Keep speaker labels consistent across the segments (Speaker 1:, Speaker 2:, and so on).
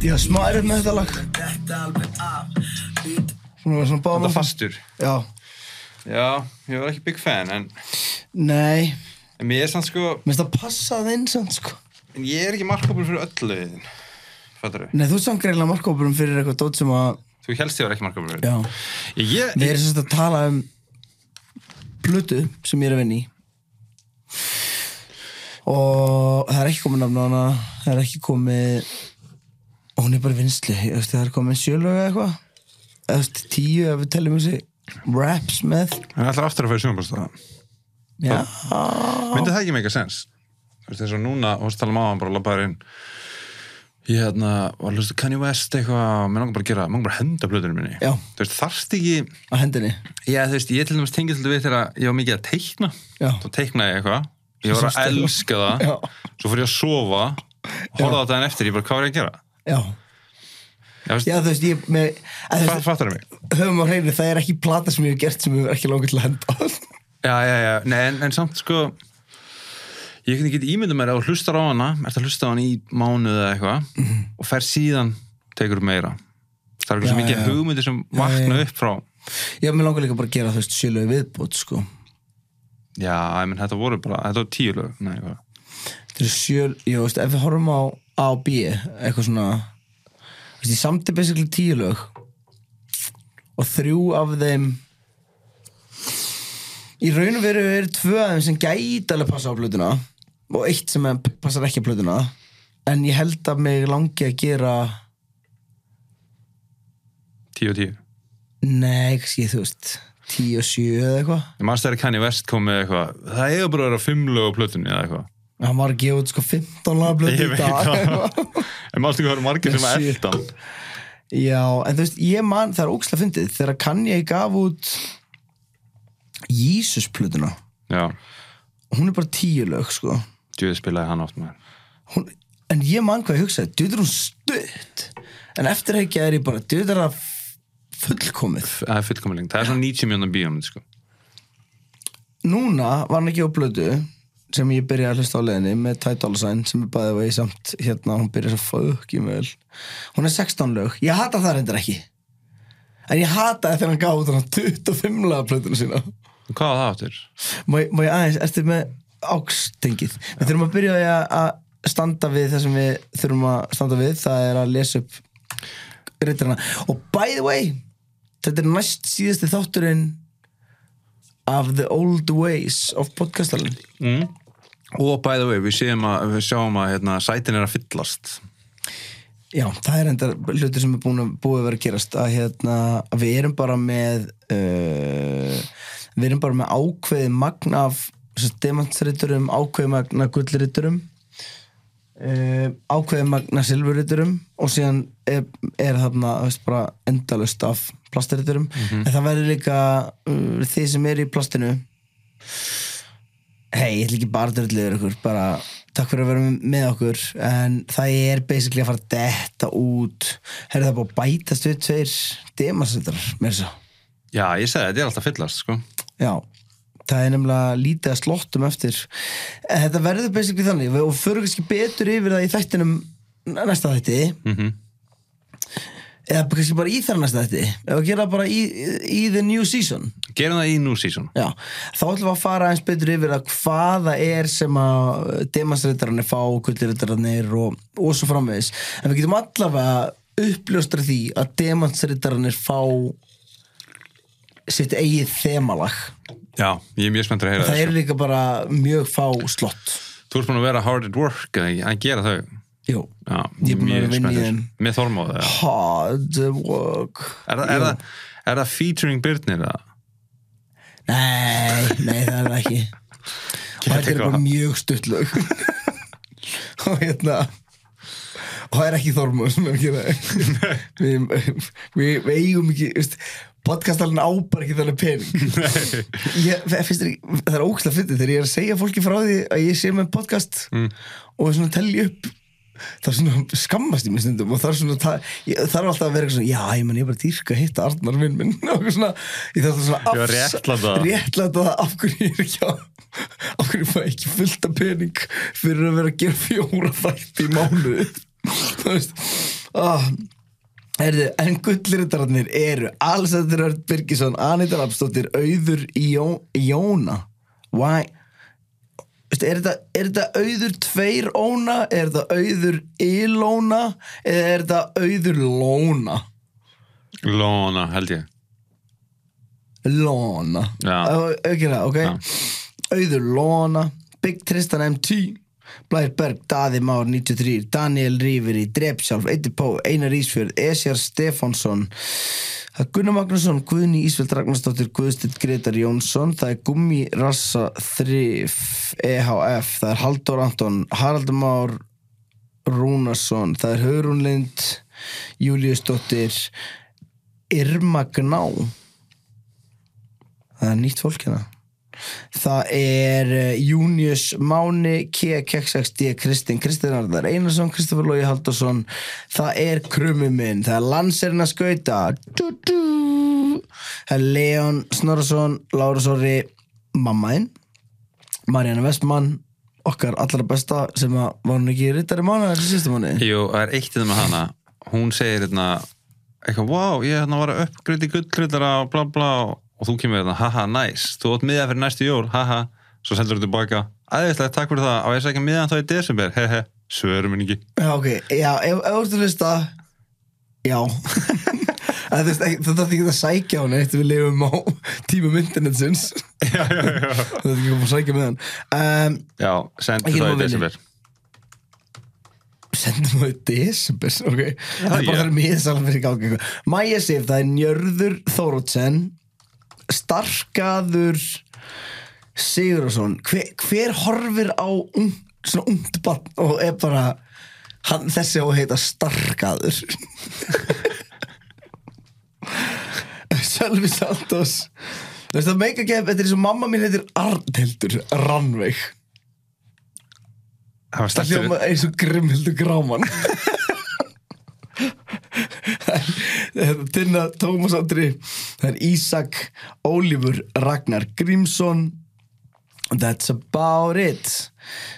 Speaker 1: Ég var smá erfitt með þetta lag. Svona var svona báðum.
Speaker 2: Þetta fastur.
Speaker 1: Já.
Speaker 2: Já, ég var ekki big fan, en,
Speaker 1: Nei.
Speaker 2: en mér er samt sko,
Speaker 1: Mér finnst það passað inn samt, sko.
Speaker 2: en ég er ekki markkópur fyrir öll lögin. Fattar
Speaker 1: Nei, þú ert samt greinlega markkópurum fyrir eitthvað dót sem að...
Speaker 2: Þú helst ég var ekki markkópur fyrir.
Speaker 1: Já.
Speaker 2: Ég, ég,
Speaker 1: Við erum sérst að tala um plötu sem ég er að vinna í. Og það er ekki komið nafn á hana. Það er ekki komið... Og hún er bara í vinnslu. Ég veist, það er komið sjölög eða eitthvað. Eða þú veist, tíu ef við teljum þessi raps með.
Speaker 2: hann ætlar aftur að færa sjónbúrstaða.
Speaker 1: Já.
Speaker 2: Myndi það ekki meika sens? Þú veist eins og núna, þú veist tala um áðan bara labbaður inn Ég hérna, var að hlusta Kanye West eitthvað Mér langar bara að gera, mér langar bara að henda blöðunum minni
Speaker 1: Já.
Speaker 2: Þú veist, þarfst ekki
Speaker 1: Á hendinni.
Speaker 2: Já, þú veist, ég til dæmis tengið svolítið við þegar ég var mikið að teikna
Speaker 1: Já.
Speaker 2: Þá teiknaði ég eitthvað Ég var að
Speaker 1: Svo
Speaker 2: elska það
Speaker 1: Já.
Speaker 2: Svo fór ég að sofa Horfða á daginn eftir, ég bara, hvað var ég að gera?
Speaker 1: Já.
Speaker 2: Já, þú veist,
Speaker 1: Já, þú veist, ég með... að þú
Speaker 2: fa-
Speaker 1: veist,
Speaker 2: fattarðu mig?
Speaker 1: Höfum á hreinu, það er ekki plata sem ég hef gert sem ég hef ekki langar til að henda.
Speaker 2: Já, já, já, Nei, en, en samt sko ég get ekki ímynda mér að þú hlustar á hana ert að hlusta á hana í mánuð eða eitthvað og fer síðan, tekur upp meira það
Speaker 1: Mhm.
Speaker 2: er eitthvað
Speaker 1: Já,
Speaker 2: sem ekki
Speaker 1: já, já.
Speaker 2: hugmyndir sem vakna
Speaker 1: já.
Speaker 2: upp frá
Speaker 1: Já, mér langar líka bara að gera, þú veist, sjölög viðbót, sko.
Speaker 2: já, ég menn þetta voru bara, þetta voru tíu lög Nei, eitthvað.
Speaker 1: Þetta er sjöl, já, veist, ef við horfum á A og B, eitthvað svona veist, ég samti basically tíu lög og þrjú af þeim í raun og veru eru tvö af þeim sem gæti alveg passa á plötuna og eitt sem er- passar ekki á plötuna en ég held að mig langi að gera
Speaker 2: tíu og tíu ég
Speaker 1: nei, kannski, þú veist tíu og sjö eða eitthvað
Speaker 2: maður stæri kanni vest komið eitthvað það eiga bara að vera fimm lög á plötunni eða eitthvað
Speaker 1: hann var að gefa út sko 15 laga plötu
Speaker 2: ég
Speaker 1: í
Speaker 2: veit
Speaker 1: dag
Speaker 2: það
Speaker 1: eitthvað.
Speaker 2: en maður stæri hvað eru margir sem að
Speaker 1: Sjö.
Speaker 2: eldan
Speaker 1: Já, en þú veist, ég man, það er ókslega fyndið þegar Kanye gaf út Jísusplötuna
Speaker 2: já,
Speaker 1: hún er bara tíu lög, sko
Speaker 2: djúið spilaði hann oft maður
Speaker 1: hún, en ég man hvað ég hugsaði, djöður hún stutt en eftir ekki er ég bara djöður það fullkomið
Speaker 2: það er fullkomið lengt, það er svona 90 mjónum bíum sko.
Speaker 1: núna var hann ekki á blödu sem ég byrjaði að hlusta á leðinni með Tædalsæn sem er bæðið vegi samt hérna, hún byrjaði svo fokki möl hún er 16 lög, ég hata það reyndar ekki en ég hataði þegar hann gaf út hann 25 laga plötuna sína
Speaker 2: hvað var það áttur?
Speaker 1: Má ég, má ég aðeins, ertu með ákstengið? Við þurfum að byrja á því að- að standa við það sem við þurfum að standa við, það er að lesa upp rittarana. Og by the way, þetta er næst síðasti þátturinn af the old ways of podcastalinn.
Speaker 2: Mm. Og by the way, við, séum að, við sjáum að hérna, sætin er að fyllast.
Speaker 1: Já, það er enda hlutur sem er búin að búið að vera að gerast að hérna, að við erum bara með uh, við erum bara með ákveðið magn af demantriturum, ákveðið magn af gullriturum uh, ákveðið magn af silfurriturum og síðan er, er þarna þú veist, bara endalust af plastriturum en það verður líka uh, þið sem eru í plastinu hei, ég ætla ekki bara að drulluður ykkur, bara takk fyrir að vera með okkur, en það er basically að fara að detta út herri það er búið að bætast við tveir demasöldrar, mér svo
Speaker 2: Já, ég segi þetta er alltaf að fyllast, sko.
Speaker 1: já, það er nefnilega lítið að slottum eftir en þetta verður basically þannig, við- og við förum kannski betur yfir það í þættinum næsta þætti
Speaker 2: Mm
Speaker 1: eða kannski bara í þar næsta þætti eða gera bara í, í the new season
Speaker 2: Gerum það í nú season.
Speaker 1: Já, þá ætlum við að fara eins betur yfir að hvaða er sem að demasreitararnir fá, gullreitararnir og, og svo framvegis. En við getum allavega uppljóstra því að demasreitararnir fá sitt eigið þemalag.
Speaker 2: Já, ég er mjög spenntur að heyra
Speaker 1: Það
Speaker 2: það.
Speaker 1: eru líka bara mjög fá slott.
Speaker 2: Þú ert búin að vera hard at work eða ekki, að gera þau.
Speaker 1: Jú,
Speaker 2: Já,
Speaker 1: Ég er búin að
Speaker 2: mjög
Speaker 1: vera að vinna í
Speaker 2: spenntur.
Speaker 1: þeim.
Speaker 2: Með þormóðu, já.
Speaker 1: hard work.
Speaker 2: Er, það- er, það- er það featuring Byrnir, eða?
Speaker 1: Nei, nei það er það ekki og þetta er
Speaker 2: eitthvað.
Speaker 1: bara mjög stutt lög og hérna og það er ekki Þormóð sem er að gera það. við, við, við eigum ekki veist, podcastalinn ábar ekki þannig pening ég, fyrst, er, ekki- það er ókslega fyndið þegar ég er að segja fólki frá því að ég sé með podcast og svona telli upp það er svona skammast í mér stundum og það er svona, það, ég, það er alltaf að vera eitthvað svona já, ég menn, ég er bara dýrka að hitta Arnar minn minn og eitthvað svona, ég þarf það svona
Speaker 2: Já,
Speaker 1: afsa-
Speaker 2: réttlæta það.
Speaker 1: réttlæta það af hverju ég er ekki að af hverju ég fæ ekki fullt af pening fyrir að vera að gera fjóra þætti í mánuði þú veist, oh, Herðu, en gullritararnir eru Alexander Örd Birgisson, Anita Rapsdóttir Auður Jó, Jóna Why? Veistu, Er þetta, er þetta auður tveir óna? Er þetta auður ilóna? Eða er þetta auður lóna?
Speaker 2: Lóna, held ég
Speaker 1: Lóna
Speaker 2: Já.
Speaker 1: Aukina, ok
Speaker 2: Já.
Speaker 1: Auður Lóna Big Tristan MT Blær Berg, Daði Már 93 Daniel Rífiri, Drepsjálf, Eitir Pó Einar Ísfjörð, Esjar Stefánsson Það er Gunnar Magnússon, Guðni Ísveld Ragnarsdóttir, Guðstedt Gretar Jónsson, það er Gummi Rassa Þrif, EHF, það er Halldór Anton, Haraldur Már Rúnarsson, það er Hörun Lind, Júliusdóttir, Irma Gná, það er nýtt fólk hérna. Það er eh, Június Máni, Kia Keksaksdía, Kristinn, Kristinn Arðar Einarsson, Kristoffer Lói Haldarsson Það er krummi minn, það er Lanserinn að skauta dú, dú. Það er Leon Snorarsson, Lárus Orri, mammaðinn Marjana Vestmann, okkar allra besta sem að var hún ekki rittari mánu þessi síðustu mánu
Speaker 2: Jú, það er eitt í það með hana Hún segir hérna eitthvað, wow, ég hérna var að uppgreita í gullgreitara og bla bla og þú kemur hérna, haha, nice, þú átt miða fyrir næstu jól haha, svo sendur þú tilbaka æðislega, takk fyrir það, á ég sækja miðan þá í desember hehe, svörum minn ekki
Speaker 1: Já, ok, já, ef, ef þú ert að hlusta Já Það þú veist, ekki- þú þarf ekki að sækja hún eitt við lifum á tímum internetsins Þú
Speaker 2: já, já, já,
Speaker 1: þarf ekki að fá að sækja með hann um,
Speaker 2: já, sendur
Speaker 1: Ekki nóg
Speaker 2: það í
Speaker 1: vinir.
Speaker 2: desember
Speaker 1: Sendum það í desember, ok Það er
Speaker 2: já.
Speaker 1: bara þar miðsalan fyrir gangi Mæja Sif, það er Njörður Þórótsen Starkaður Sigurðarsson hver, hver horfir á ung, svona ungt barn og er bara hann, þessi á að heita Starkaður Sölvi Santos Þú veist það meika gef, þetta er eins og mamma mín heitir Arnhildur Rannveig
Speaker 2: það var
Speaker 1: Það
Speaker 2: sterkur
Speaker 1: hljóma eins og grimmhildu gráman Tinna Tómas Andri Það er Ísak Ólífur Ragnar Grímsson That's about it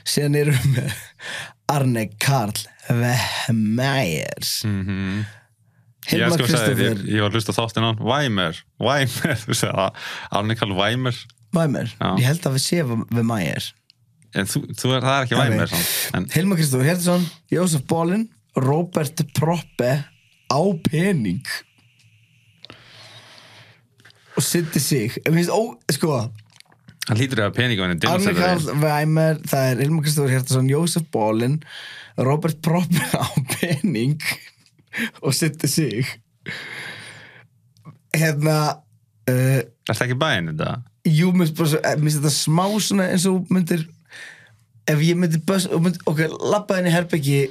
Speaker 1: Síðan erum við með Arne Karl Vehmeyers
Speaker 2: mm -hmm. ég
Speaker 1: Hilmar
Speaker 2: sko sagði, ég,
Speaker 1: Kristoffer
Speaker 2: ég var að hlusta á þáttinn hann Væmer, Væmer, þú segði það Arne Karl Væmer,
Speaker 1: Væmer
Speaker 2: Já.
Speaker 1: Ég held að við séum við Mæjar
Speaker 2: en þú, þú er, það er ekki
Speaker 1: Já, nei.
Speaker 2: Væmer samt, en
Speaker 1: Hilmar Kristoffer Hjertason Jósef Bólin Robert Proppe á pening og sitti sig Mér finnst ó, sko,
Speaker 2: hann hlýtur að peningvænin
Speaker 1: Arne Karl Væmer það er Hilmar Kristoffer Hjertason, Jósef Bólin Robert Proppe á pening og sitti sig hérna uh,
Speaker 2: Er það ekki bæinn þetta?
Speaker 1: Jú, mér finnst bara svo- eh, mér finnst þetta smá svona eins og þú myndir ef ég myndir bus, og mynd, ok, labba henni herbyggi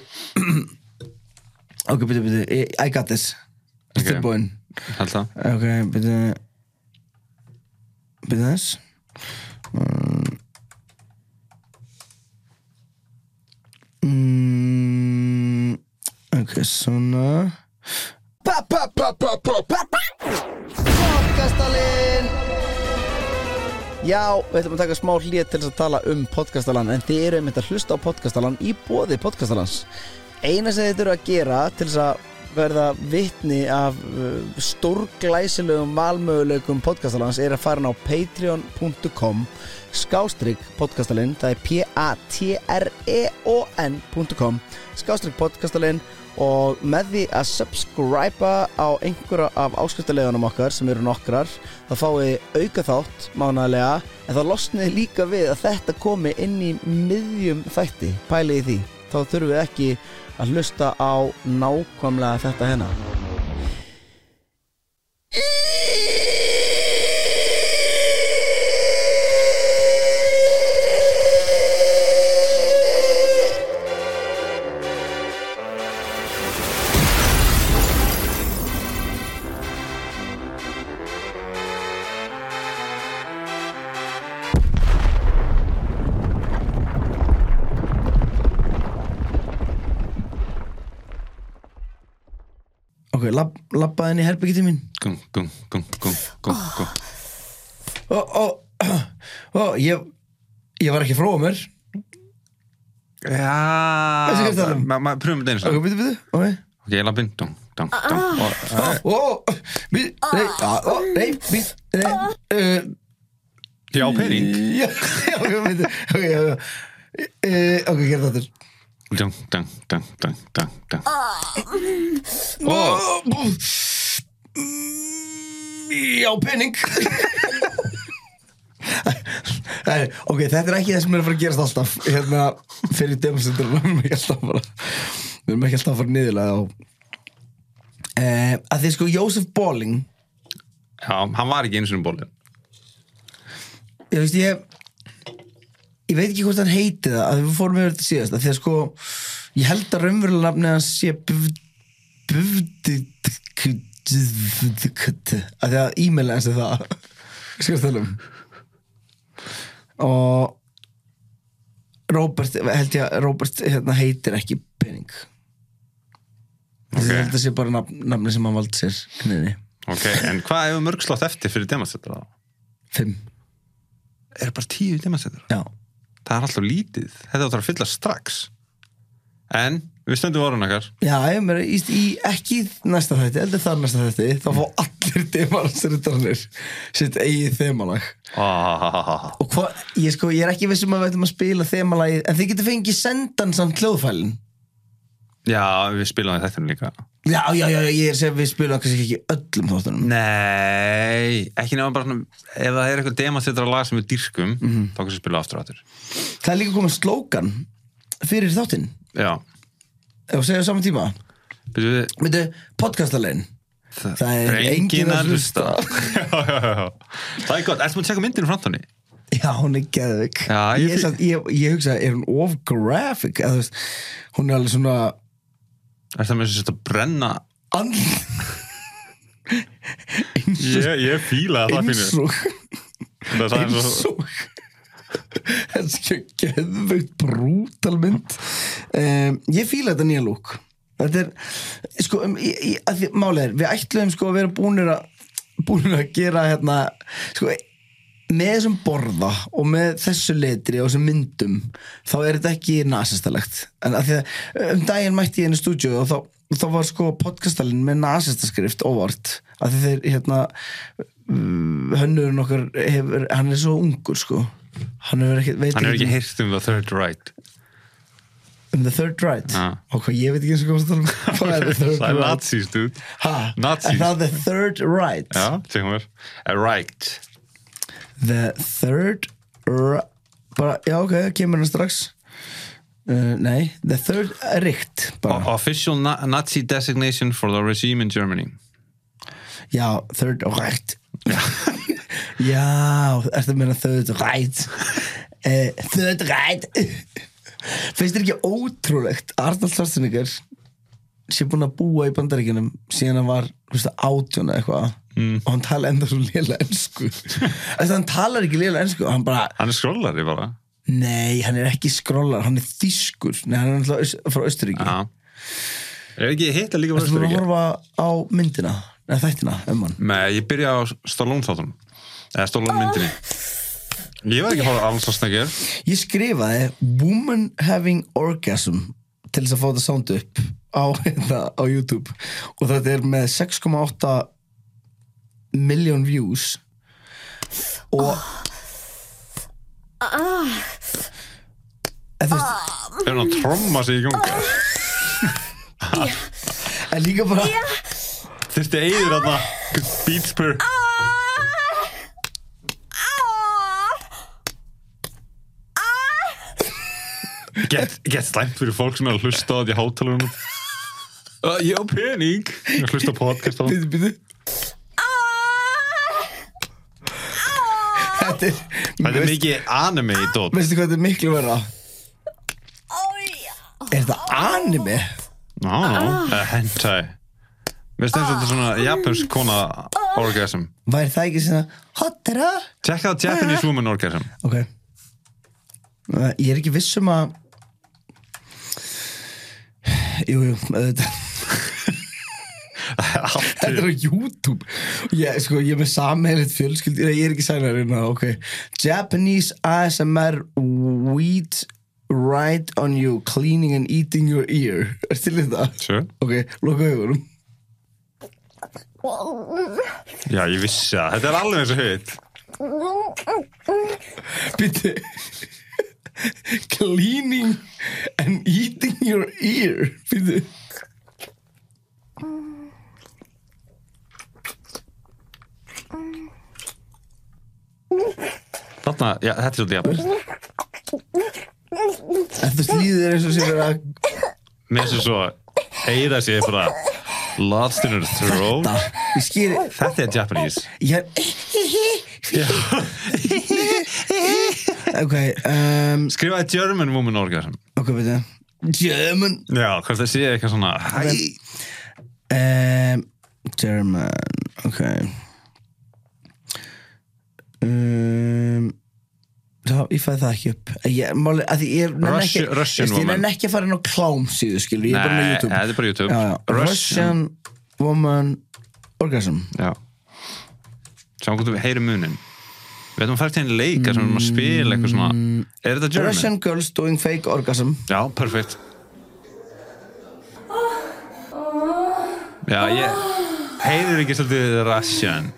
Speaker 1: ok, byrju, byrju, I- I got this okay.
Speaker 2: Ok.
Speaker 1: tilbúin
Speaker 2: Held það?
Speaker 1: ok, byrju byrju þess mm, ok, svona Podcastalinn Já, við ætlum að taka smá hlið til þess að tala um podcastalann en þið eru einmitt að hlusta á podcastalann í bóði podcastalans Eina sem þið eru að gera til þess að verða vitni af uh, stórglæsilegum valmöguleikum podcastalans er að fara inn á patreon.com skástrygg podcastalinn það er E p-a-t-r-e-o-n.com skástrygg podcastalinn og með því að subscriba á einhverja af áskriftalegunum okkar sem eru nokkrar þá fáið þið auka þátt mánaðlega en þá losnið þið líka við að þetta komi inn í miðjum þætti pælið í því þá þurfum við ekki að hlusta á nákvæmlega þetta hérna Ok, lab, labbaði henni herbyggi til mín
Speaker 2: Gung, gung, gung, gung, gung, gung.
Speaker 1: Ó, ó, ó, ég, ég var ekki frá mér
Speaker 2: Já,
Speaker 1: Veistu hvað ég tala um?
Speaker 2: ma- ma- pröfum þetta
Speaker 1: Ok,
Speaker 2: einu svona.
Speaker 1: byrju, byrju, ok
Speaker 2: ok, lappin, dung, dung, dung og
Speaker 1: Ó, mi- nei, á, ó, nei, mi- nei, eh,
Speaker 2: já, pening
Speaker 1: já, já, já, veitu, ok, já, já. Eh, ok, gerðu þetta aftur.
Speaker 2: dung, dung, dung, dung, dung, dung
Speaker 1: Ó, bú. Mm, Já, pening Nei, Ok, þetta er ekki það sem er að fara að gerast alltaf hérna, fyrir demonstrandur við erum ekki alltaf að fara við erum ekki alltaf að fara niðurlega á eh, að því sko Jósef Bolling
Speaker 2: já, hann var ekki eins og um bólin
Speaker 1: ég veist ég ég veit ekki hvort hann heiti það að við fórum yfir þetta síðast að því að sko ég held að raunverulega nafni hans sé Bufdikut að því að e-mail hans er það skur það um og Robert held ég að Robert hérna heitir ekki pening
Speaker 2: Ok.
Speaker 1: okay. þetta sé bara nafn, nafni sem hann valdi sér henni
Speaker 2: ok, en hvað hefur mörg slátt eftir fyrir demansettur þá?
Speaker 1: fimm
Speaker 2: eru bara tíu demansettur
Speaker 1: já
Speaker 2: það er alltaf lítið, þetta áttur að fylla strax en við stöndum orðun okkar
Speaker 1: Já, ég meira, í, í, ekki í næsta þætti, heldur þar næsta þætti, þá fá allir demaransritarnir sitt eigið þemalag.
Speaker 2: Ah,
Speaker 1: Og hvað, ég sko, ég er ekki viss um að við ætlum að spila þemalagið, en þið getur fengið sendan samt hljóðfælin.
Speaker 2: já, við spilum þetta líka
Speaker 1: Já, já, já, já, ég er að segja að við spilum kannski ekki öllum þáttunum.
Speaker 2: nei, ekki nefnum bara svona, ef það er eitthvað demansettur lag sem við dýrkum
Speaker 1: Mhm.
Speaker 2: þá kannski spilum við aftur og aftur
Speaker 1: Það er líka komið slókan fyrir þáttinn,
Speaker 2: já,
Speaker 1: ef við segjum á saman tíma.
Speaker 2: byrju við
Speaker 1: Myndu, podcastalegin. Það er enginn að hlusta.
Speaker 2: Já, já, já, já. Það er gott, ertu maður að tjekka myndinu framtóni?
Speaker 1: Já, hún er geðvik
Speaker 2: Já, ég
Speaker 1: ég, ég,
Speaker 2: fí-
Speaker 1: samt- ég, ég hugsa, er hún of graphic? Eða, þú veist, hún er alveg svona
Speaker 2: Er það með þess að brenna?
Speaker 1: and...
Speaker 2: Ég, ég fíla
Speaker 1: einsog
Speaker 2: Það er svo
Speaker 1: einsog þessi geðveikt brútal mynd um, ég fíla þetta nýja lúk þetta er sko, um, í, í, að því, málega er, við ætluðum sko að vera búnir að búnir að gera hérna sko, með þessum borða og með þessu letri og þessum myndum þá er þetta ekki nasistalegt en að því að um daginn mætti ég inn í stúdíu og þá, þá var sko podcastalinn með nasistaskrift óvart að því þeir hérna mm, hönnurinn okkar hefur, hann er svo ungur sko hann hefur ekki, veit
Speaker 2: Hann hefur ekki heyrt um The Third Right
Speaker 1: um the third right
Speaker 2: Ah.
Speaker 1: ok, ég veit ekki eins og komast að tala um hvað er the third
Speaker 2: Það er
Speaker 1: right
Speaker 2: nazis, dude
Speaker 1: Ha,
Speaker 2: Nazis.
Speaker 1: er það the third right
Speaker 2: Já, tegum við A Right
Speaker 1: The Third Ra- bara, Já, ok, það kemur hann strax uh, Nei, The Third Rikt bara.
Speaker 2: O- Official na Nazi designation for the regime in Germany
Speaker 1: Já, Third Rikt Já, ertu að meina Third Right uh, Third Right Finnst þér ekki ótrúlegt að Arnold Schwarzenegger sé búinn að búa í bandaríkinum síðan hann var þú veist, átjón eða eitthvað og hann tala enda svo lélega ensku Þess að hann talar ekki lélega ensku hann bara
Speaker 2: Hann er skrollari bara
Speaker 1: Nei, hann er ekki skrollar, hann er þýskur Nei, hann er náttúrulega aus- frá Östuríki
Speaker 2: Já Er ekki hitt að
Speaker 1: Þú
Speaker 2: líka
Speaker 1: voru að
Speaker 2: verður
Speaker 1: horfa á myndina Nei, þættina, um hann
Speaker 2: Nei, ég byrja á Stallone þáttunum Eða Stallone myndinni Ég var ekki að hóra alls að snakka
Speaker 1: Ég skrifaði Woman having orgasm til þess að fá þetta sound upp á, hérna, á YouTube og þetta er með 6,8 million views og En þú veist,
Speaker 2: Er hann að tromma sig í gangi?
Speaker 1: en líka bara
Speaker 2: Þurfti eigður að það Beats per Get, get slæmt fyrir fólk sem er að hlusta á þetta í hátalunum uh, Ég á pening Ég er að hlusta á podcast á
Speaker 1: Bíddu, bíddu. Þetta er
Speaker 2: Þetta er
Speaker 1: veist-
Speaker 2: mikið anime í dót
Speaker 1: Veistu hvað þetta er miklu verra? Er þetta anime?
Speaker 2: Ná,
Speaker 1: Ah.
Speaker 2: uh, hentai Mér stendst þetta er svona japansk kona orgasm
Speaker 1: Væri það ekki svona Hotera?
Speaker 2: Tjekka það Japanese woman orgasm
Speaker 1: Ok Uh, Ég er ekki viss um að Jú, jú, auðvitað Þetta er á YouTube Ég, sko, ég er með sammeilitt fjölskyld Ég er ekki sænar inn á, ok Japanese ASMR Weed Right on you, cleaning and eating your ear Er til í það?
Speaker 2: Sjö?
Speaker 1: Ok, loka augunum
Speaker 2: Já, ég vissi það. Þetta er alveg eins og hitt.
Speaker 1: Býtti Cleaning and eating your ear Býtti
Speaker 2: Þarna, já, þetta er svolítið jafn.
Speaker 1: Þetta slíðið er eins og sér að
Speaker 2: Mér sem svo eyra sér bara lost in her throat.
Speaker 1: Ég skýri
Speaker 2: Þetta er Japanese.
Speaker 1: Ég
Speaker 2: Já.
Speaker 1: Ok, um,
Speaker 2: Skrifaði German woman orgasm.
Speaker 1: ok, býtti German
Speaker 2: Já, hvort það sé eitthvað svona Hæ,
Speaker 1: um, German, ok um, Já, ég fæði það ekki upp ég, máli, að því ég nenni ekki,
Speaker 2: Russian- Russian
Speaker 1: ég nenni
Speaker 2: woman.
Speaker 1: ekki að fara inn á klám síðu skilur, ég er bara með
Speaker 2: Nei,
Speaker 1: YouTube
Speaker 2: þetta er bara YouTube
Speaker 1: já, já. Russian woman orgasm
Speaker 2: Já Sjáum hvort við heyrum munin Við ætlum að fara til einn leika sem við erum að spila eitthvað svona Er þetta German?
Speaker 1: Russian girls doing fake orgasm
Speaker 2: Já, perfekt Já, ég Heyrir ekki svolítið Russian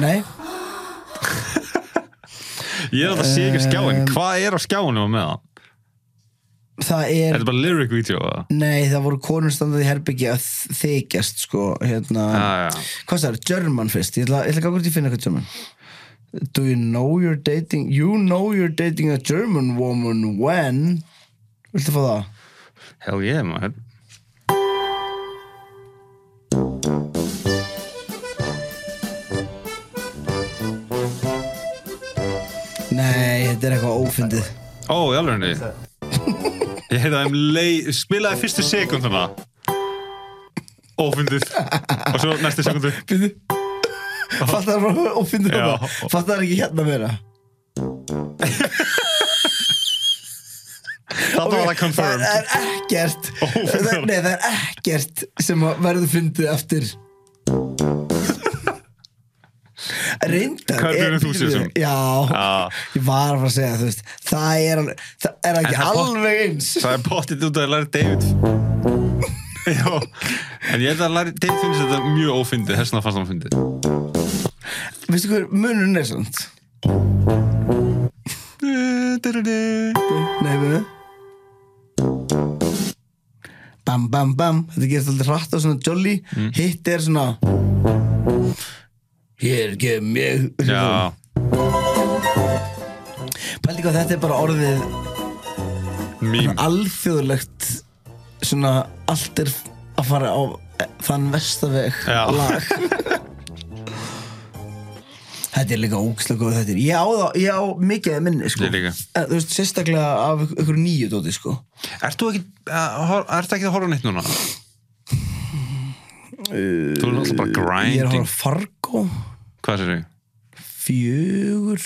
Speaker 1: Nei,
Speaker 2: Ég er alltaf að sé ekki á skjáin Hvað er á skjáinum með það?
Speaker 1: það er
Speaker 2: Er þetta bara lyric video? eða?
Speaker 1: Nei, það voru konur standað í herbyggja að þykjast sko, hérna
Speaker 2: Já, já
Speaker 1: Hvað það er? German fyrst Ég ætla, ég ætla að ganga út í að finna eitthvað German Do you know you're dating You know you're dating a German woman when Viltu fá það?
Speaker 2: Hell yeah, maður
Speaker 1: Nei, þetta er eitthvað ófindið
Speaker 2: Ó, í alveg Ég heyrði að þeim leið Spilaði fyrstu sekunduna Ófundið Og svo næstu sekundu
Speaker 1: Býttu Fattar það bara ófindið
Speaker 2: Já.
Speaker 1: það Fattar það ekki hérna meira
Speaker 2: Þarna var það
Speaker 1: Það
Speaker 2: confirmed Oh,
Speaker 1: er ekkert
Speaker 2: Ófundið.
Speaker 1: það, Nei, það er ekkert sem að verður fyndið eftir Reyndar
Speaker 2: Hvað er
Speaker 1: er-
Speaker 2: 100.000?
Speaker 1: Já
Speaker 2: Já,
Speaker 1: Ég var að fara að segja þú veist Það er, alveg- það er ekki
Speaker 2: það er bot-
Speaker 1: alveg eins
Speaker 2: það er pottið út að læra David Já En ég held að læra David finnst þetta mjög ófundið Þessna fannst hann fundið
Speaker 1: Veistu hver munurinn er samt? Nei, við Bam, bam, bam Þetta gerist alltaf hratt og svona jolly
Speaker 2: Mm.
Speaker 1: Hitt er svona Hér gef mér
Speaker 2: Já,
Speaker 1: Pældi hvað þetta er bara orðið
Speaker 2: mím
Speaker 1: alþjóðlegt Svona allt er að fara á eh, þann vestaveg
Speaker 2: Já.
Speaker 1: lag Þetta er líka ógslag góð þetta er Ég á, það, ég á mikið að minni sko.
Speaker 2: Ég líka.
Speaker 1: Eh, Þú veist, sérstaklega af ykkur- ykkur nýju dóti sko.
Speaker 2: Ertu ekki, að hor- ertu ekki að horfa á neitt núna? Þú er náttúrulega bara
Speaker 1: Ég er að
Speaker 2: grinding
Speaker 1: horfa á Fargo
Speaker 2: Hvað sér ég?
Speaker 1: Fjögur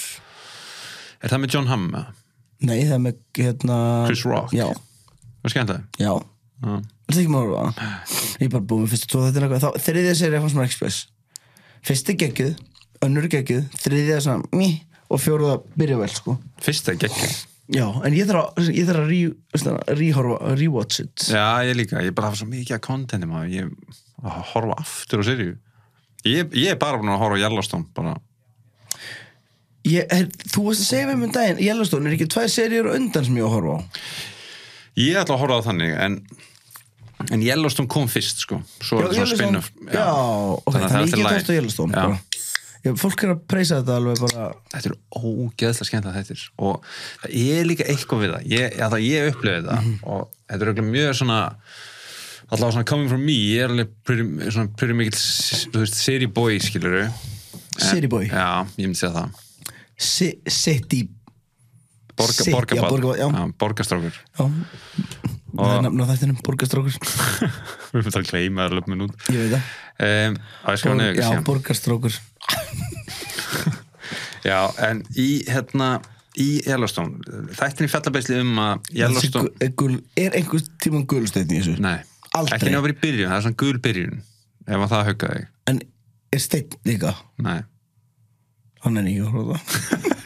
Speaker 2: Er það með John Hamm? eða?
Speaker 1: Nei, það er með hérna
Speaker 2: Chris Rock.
Speaker 1: Já,
Speaker 2: Var skemmt það?
Speaker 1: já
Speaker 2: Já.
Speaker 1: Það er ekki maður að horfa á það. Ég er bara búið með fyrstu tvo þetta eitthvað Þá þriðja serið fannst mér Express Fyrsti geggjuð, önnur geggjuð Þriðja svona mí Og fjóruða byrja vel sko
Speaker 2: Fyrsta geggjum
Speaker 1: Já, en ég þarf að, ég þarf að re- svona, rehorfa, rewatch it
Speaker 2: Já, ég líka, ég bara hafa svo mikið að kontentum að ég að horfa aftur á sirju ég, ég er bara búin að horfa á Yellowstone bara,
Speaker 1: ég, her, Þú varst að segja mér um daginn Yellowstone er ekki tvær seríur á undan sem ég á að horfa á
Speaker 2: ég ætla að horfa á þannig en, en Yellowstone kom fyrst sko, svo
Speaker 1: Já,
Speaker 2: er þetta svona
Speaker 1: Yellowstone-
Speaker 2: spin-off
Speaker 1: Já, ok,
Speaker 2: Þannig að það er
Speaker 1: þannig
Speaker 2: allt
Speaker 1: ég
Speaker 2: í
Speaker 1: get
Speaker 2: lagi.
Speaker 1: hægt á Yellowstone
Speaker 2: Já.
Speaker 1: bara. Ég, Fólk er að preysa þetta alveg bara
Speaker 2: Þetta eru ógeðslega skemmt að þetta er og það er líka eitthvað við það ég, að það ég upplifði þetta
Speaker 1: Mhm.
Speaker 2: og þetta er örugglega mjög svona allavega svona coming from me, ég er alveg pretty, svona pretty mikill, s- þú veist, city boy skiluru
Speaker 1: City boy.
Speaker 2: Já, ég myndi segja það
Speaker 1: si- City
Speaker 2: Borga,
Speaker 1: Sitt, já,
Speaker 2: borgaball,
Speaker 1: borgaball, já.
Speaker 2: borgastrákur
Speaker 1: Já, það er nafn á þættinum, borgarstrókur
Speaker 2: Við erum þetta að gleyma það löpum minút
Speaker 1: Ég veit það
Speaker 2: um, Á, ég skrifa niður
Speaker 1: Sko, Já,
Speaker 2: síðan.
Speaker 1: borgarstrókur
Speaker 2: Já, en í hérna í Yellowstone, þættin í fjallabeisli um að Yellowstone,
Speaker 1: Þessi gu- eh, gul- Er einhvers tíman gulsteinn í þessu?
Speaker 2: nei
Speaker 1: Aldrei.
Speaker 2: ekki nefnir í byrjun, það er svona gul byrjun ef að það hugga þig,
Speaker 1: En er steinn líka?
Speaker 2: nei
Speaker 1: Hann er nýju, horfðu það þetta Mhm. var-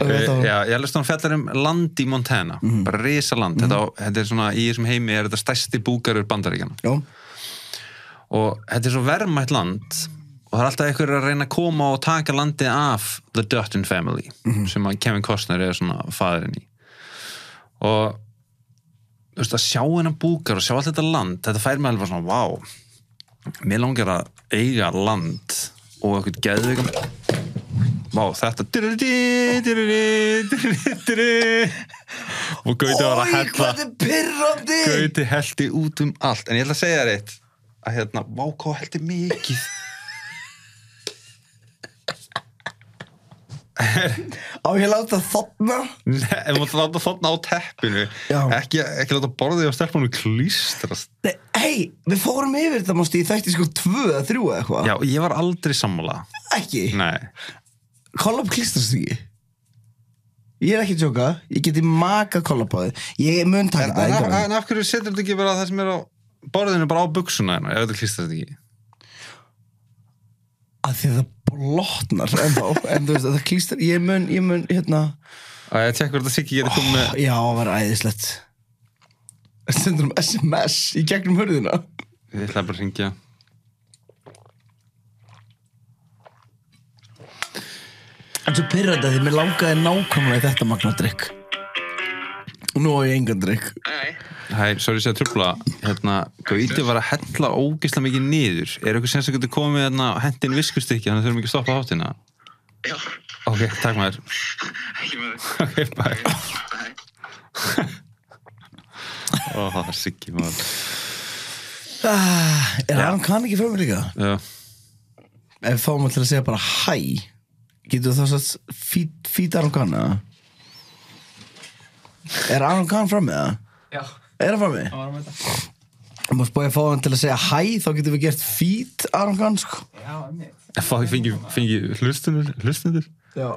Speaker 2: Eh, Já, Yellowstone fjallar um land í Montana bara risaland, mm. þetta, á- þetta er svona í þessum heimi er þetta stærsti búgarur bandaríkjana
Speaker 1: Já,
Speaker 2: og þetta er svo verðmætt land og það er alltaf einhverjur að reyna að koma og taka landið af The Dutton Family sem að Kevin Costner er svona faðurinn í og þú veist að sjá hennar búkar og sjá allt þetta land, þetta fær mig alveg bara svona vá, mér langar að eiga land og eitthvað geðveikum vá, þetta dirri, dirri, dirri, dirri. og gauti var að
Speaker 1: Ói,
Speaker 2: hella
Speaker 1: hvað er pyrrandi
Speaker 2: Gauti heldi út um allt En ég ætla að segja þér eitt Að hérna, váká heldi mikið
Speaker 1: Á ég láta þarna
Speaker 2: Nei, En maður láta þarna á teppinu
Speaker 1: Já.
Speaker 2: ekki, ekki láta borðið á stelpunum klístrast
Speaker 1: Nei, hei, við fórum yfir þetta mástu í þætti sko tvö að þrjú eða eitthvað
Speaker 2: Já, ég var aldrei sammála
Speaker 1: Ekki,
Speaker 2: Nei,
Speaker 1: kollab klistrast ekki Ég er ekki að tjóka, ég geti maka kollab á þig Ég mun
Speaker 2: en,
Speaker 1: taka
Speaker 2: en, af,
Speaker 1: þetta
Speaker 2: en af hverju setur þetta ekki bara það sem er á borðinu bara á buksuna hennar, ef þetta klístrast ekki
Speaker 1: Að því að það blotnar ennþá En þú veist, það klistrar, ég mun, ég mun, hérna
Speaker 2: Að ég tjekkur þetta Siggi geti komið með
Speaker 1: Já, það var æðislegt Sendur um SMS í gegnum hörðina
Speaker 2: Ég ætla bara að ringja
Speaker 1: En svo pyrrandi að því mér langaði nákvæmlega í þetta magna drikk Og nú á ég engan drikk
Speaker 2: Hæ, sorry að segja trubla hérna, Gauti var að hella ógisla mikið niður Er eitthvað sem sem getur komið hérna og hendin viskustykki, þannig þurfum ekki að stoppa háttina
Speaker 3: Já,
Speaker 2: Ok, takk maður
Speaker 3: ekki með þig.
Speaker 2: Ok, bye
Speaker 3: Nei.
Speaker 2: Ó, það er sikki maður
Speaker 1: ah, Er hann kann ekki fyrir mig líka?
Speaker 2: Já,
Speaker 1: Ef þá maður til að segja bara hæ Getur þú þá satt fít, fít Aron Kahn eða? Er Aron Kahn fram með það?
Speaker 3: Já,
Speaker 1: Er hann fram með?
Speaker 3: það var að mæta.
Speaker 1: Ef maður spóið að fá hann til að segja hæ Þá getum við gert fít Aron Kahn sko
Speaker 3: Já, einmitt.
Speaker 2: En fá ég fengi, fengi hlustunir, hlustunir
Speaker 1: Já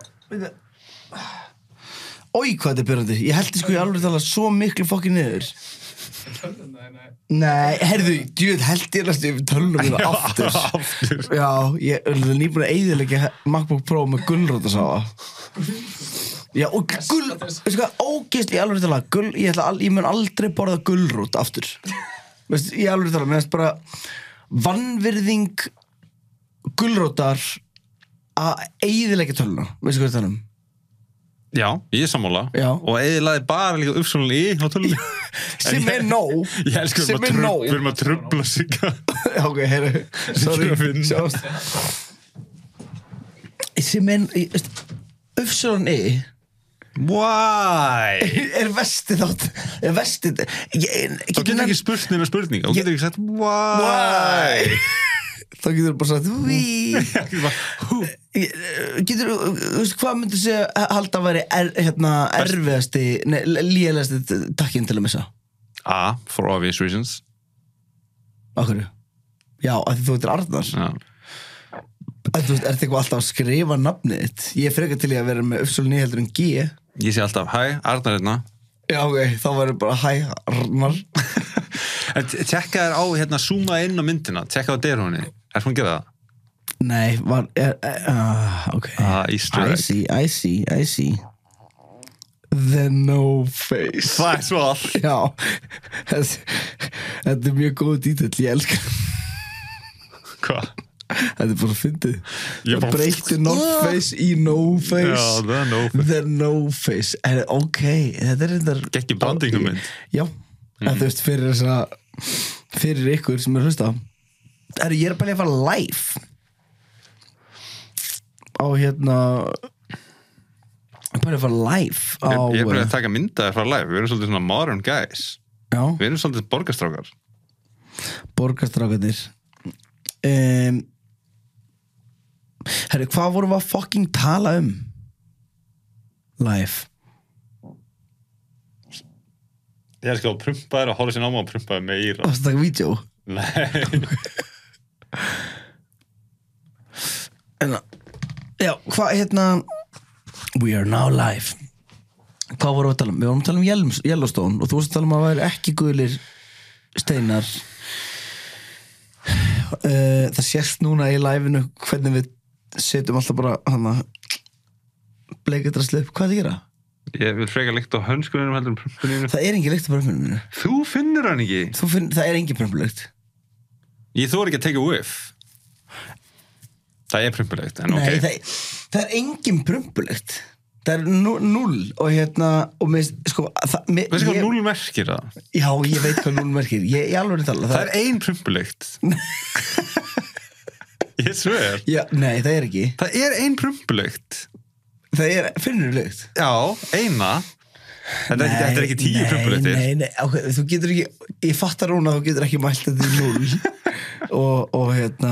Speaker 1: Ói hvað þetta er byrjandi Ég held sko ég alveg tala svo miklu fokkin niður
Speaker 3: Nei, nei.
Speaker 1: Nei, herðu, djúð, held ég næstu yfir tölunum mínu aftur.
Speaker 2: Aftur
Speaker 1: Já, ég er nýbúin að eyðilegja MacBook Pro með gullrótasáa. Já, og gull, veistu hvað, ógeðsli, ég alveg tala, gull, ég, ætla, al- ég mun aldrei borða gullrót aftur. Veistu, ég alveg tala, mér finnst bara vannvirðing gullrótar að eyðilegja töluna, veistu hvað ég er að tala um?
Speaker 2: Já, ég er sammála
Speaker 1: Já.
Speaker 2: Og eðilaði bara líka uppsvonul í á tölunni
Speaker 1: Sem er nóg,
Speaker 2: Ég elsku við
Speaker 1: sem
Speaker 2: erum að
Speaker 1: er
Speaker 2: trub-
Speaker 1: nóg.
Speaker 2: við erum að trubla sigga
Speaker 1: Já, ok, heyrðu, sorry,
Speaker 2: að finna.
Speaker 1: sjáumst sem er, ég veist Ufsson E
Speaker 2: Why?
Speaker 1: er vestið átt er vestið ég,
Speaker 2: Þá getur ekki spurt neina spurninga Þú getur ekki sagt
Speaker 1: Why?
Speaker 2: why
Speaker 1: þá getur þú bara sagt Wii
Speaker 2: Ég bara, hú.
Speaker 1: getur þú, þú veist, hvað myndir segja að halda að væri er, hérna, erfiðasti nei, lélegasti takkinn til að missa
Speaker 2: A, for obvious reasons
Speaker 1: á hverju? Já, af því þú veitir Arnar
Speaker 2: Já.
Speaker 1: að þú veist, ertu eitthvað alltaf að skrifa nafnið þitt ég er frekar til í að vera með Ufsson E heldur en G
Speaker 2: Ég sé alltaf, hæ, Arnar hérna
Speaker 1: Já, ok, þá verður bara hæ, Arnar
Speaker 2: En t- Tekka þér á, hérna, zooma inn á myndina Tekka á derhóni, er hún að gera það?
Speaker 1: Nei, var er, er, uh, ok
Speaker 2: Ah, Easter
Speaker 1: I
Speaker 2: egg.
Speaker 1: see, I see, I see The no face
Speaker 2: Það er svo all
Speaker 1: Já þess- Þetta er mjög góð dítill, ég elska
Speaker 2: Hvað?
Speaker 1: Þetta er bara fyndið
Speaker 2: Ég
Speaker 1: Það
Speaker 2: bara-
Speaker 1: breyti no face í no
Speaker 2: Já,
Speaker 1: face
Speaker 2: það er nóg
Speaker 1: The no face er, Ok, þetta er þetta
Speaker 2: Gekk í brandingu mynd
Speaker 1: Já, mm. þú veist fyrir þess að fyrir ykkur sem er að hlusta er, ég er bara að fara live á hérna ég er bara að fara live á eh,
Speaker 2: Ég er bara að taka myndaði frá live Við erum svolítið svona modern guys
Speaker 1: já,
Speaker 2: Við erum svolítið borgarstrákar
Speaker 1: borgarstrákanir um, herru, hvað vorum við að fucking tala um live
Speaker 2: Ég er sko að prumpa þér og horfa sér náma og prumpa þér meira
Speaker 1: varstu að taka vídeo
Speaker 2: Nei
Speaker 1: en, já, hvað hérna we are now live hvað vorum við að tala um? Við vorum að tala um Yellum- Yellowstone og þú varst að tala um að það væri ekki gulir steinar uh, það sést núna í liveinu hvernig við setjum alltaf bara hana bleikadrasli upp, hvað er það að gera?
Speaker 2: Ég vil freka líkt á hönskuninum heldur en prumpuninu.
Speaker 1: Það er engin lykt á brömpunum mínu.
Speaker 2: Þú finnur hann ekki.
Speaker 1: Þú finn, það er engin brömpulykt.
Speaker 2: Ég þóri ekki að taka whiff. Það er prumpulegt, en
Speaker 1: Nei,
Speaker 2: ok.
Speaker 1: það, það er engin brömpulykt. Það er nú- núll og hérna, og mér, sko, það, mér,
Speaker 2: Veistu hvað um núl merkir það?
Speaker 1: Já, ég veit hvað núll merkir. Ég, ég alveg tala.
Speaker 2: Það er ein prumpulykt. ég sver.
Speaker 1: Já, nei, það er ekki.
Speaker 2: Það er ein prumpulykt.
Speaker 1: Það er, finnur þú lykt?
Speaker 2: Já, eina. Þetta, er ekki- þetta er ekki tíu prumpulyktir.
Speaker 1: Nei, nei, nei, ok, þú getur ekki, ég fattar hún að þú getur ekki mælt þetta í núll og, og hérna,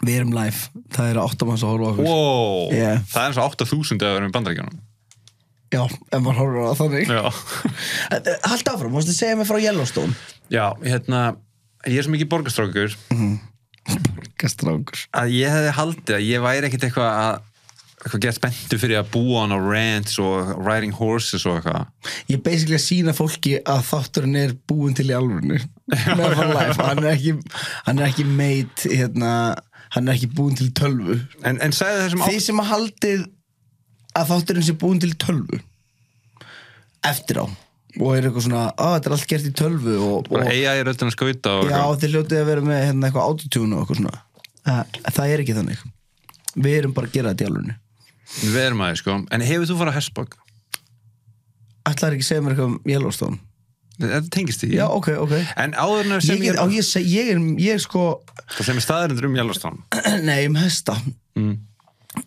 Speaker 1: við erum live, það eru áttamanns að horfa á okkur.
Speaker 2: Wow,
Speaker 1: Yeah.
Speaker 2: það er eins og 8000 eða verðum í bandaríkjunum.
Speaker 1: Já, en maður horfir á það þannig.
Speaker 2: Já.
Speaker 1: Haldt áfram, mástu segja mig frá Yellowstone.
Speaker 2: Já, hérna, ég er svo mikið borgarstrákur
Speaker 1: Gastrákur.
Speaker 2: að ég hefði haldið að ég væri ekkit eitthvað að eitthvað gett spenntu fyrir að búa hann á ranch og riding horses og eitthvað.
Speaker 1: Ég er basically að sína fólki að þátturinn er búin til í alvörinu. Með að fara live, hann er ekki, hann er ekki meit, hérna, hann er ekki búin til tölvu.
Speaker 2: En, en sagði þessum
Speaker 1: Þið sem að haldið að þátturinn sé búin til tölvu eftir á og er eitthvað svona, að þetta er allt gert í tölvu og,
Speaker 2: bara
Speaker 1: og
Speaker 2: eiga í röddina skauta og
Speaker 1: já,
Speaker 2: eitthvað.
Speaker 1: þið hljótið að vera með hérna, eitthvað autotune og eitthvað svona það, það er ekki þannig við erum bara að gera þetta í alvörinu
Speaker 2: Við erum aðeins sko. En hefur þú farið að Hesbog?
Speaker 1: ætlaðir ekki að segja mér eitthvað um Yellowstone
Speaker 2: Þetta tengist því.
Speaker 1: já, ok, ok
Speaker 2: En áður en Mm. sem
Speaker 1: ég,
Speaker 2: ég,
Speaker 1: get, á, ég, seg, ég, er, ég er sko
Speaker 2: það sem er staðarindur um Yellowstone.
Speaker 1: nei, um hesta
Speaker 2: Mm.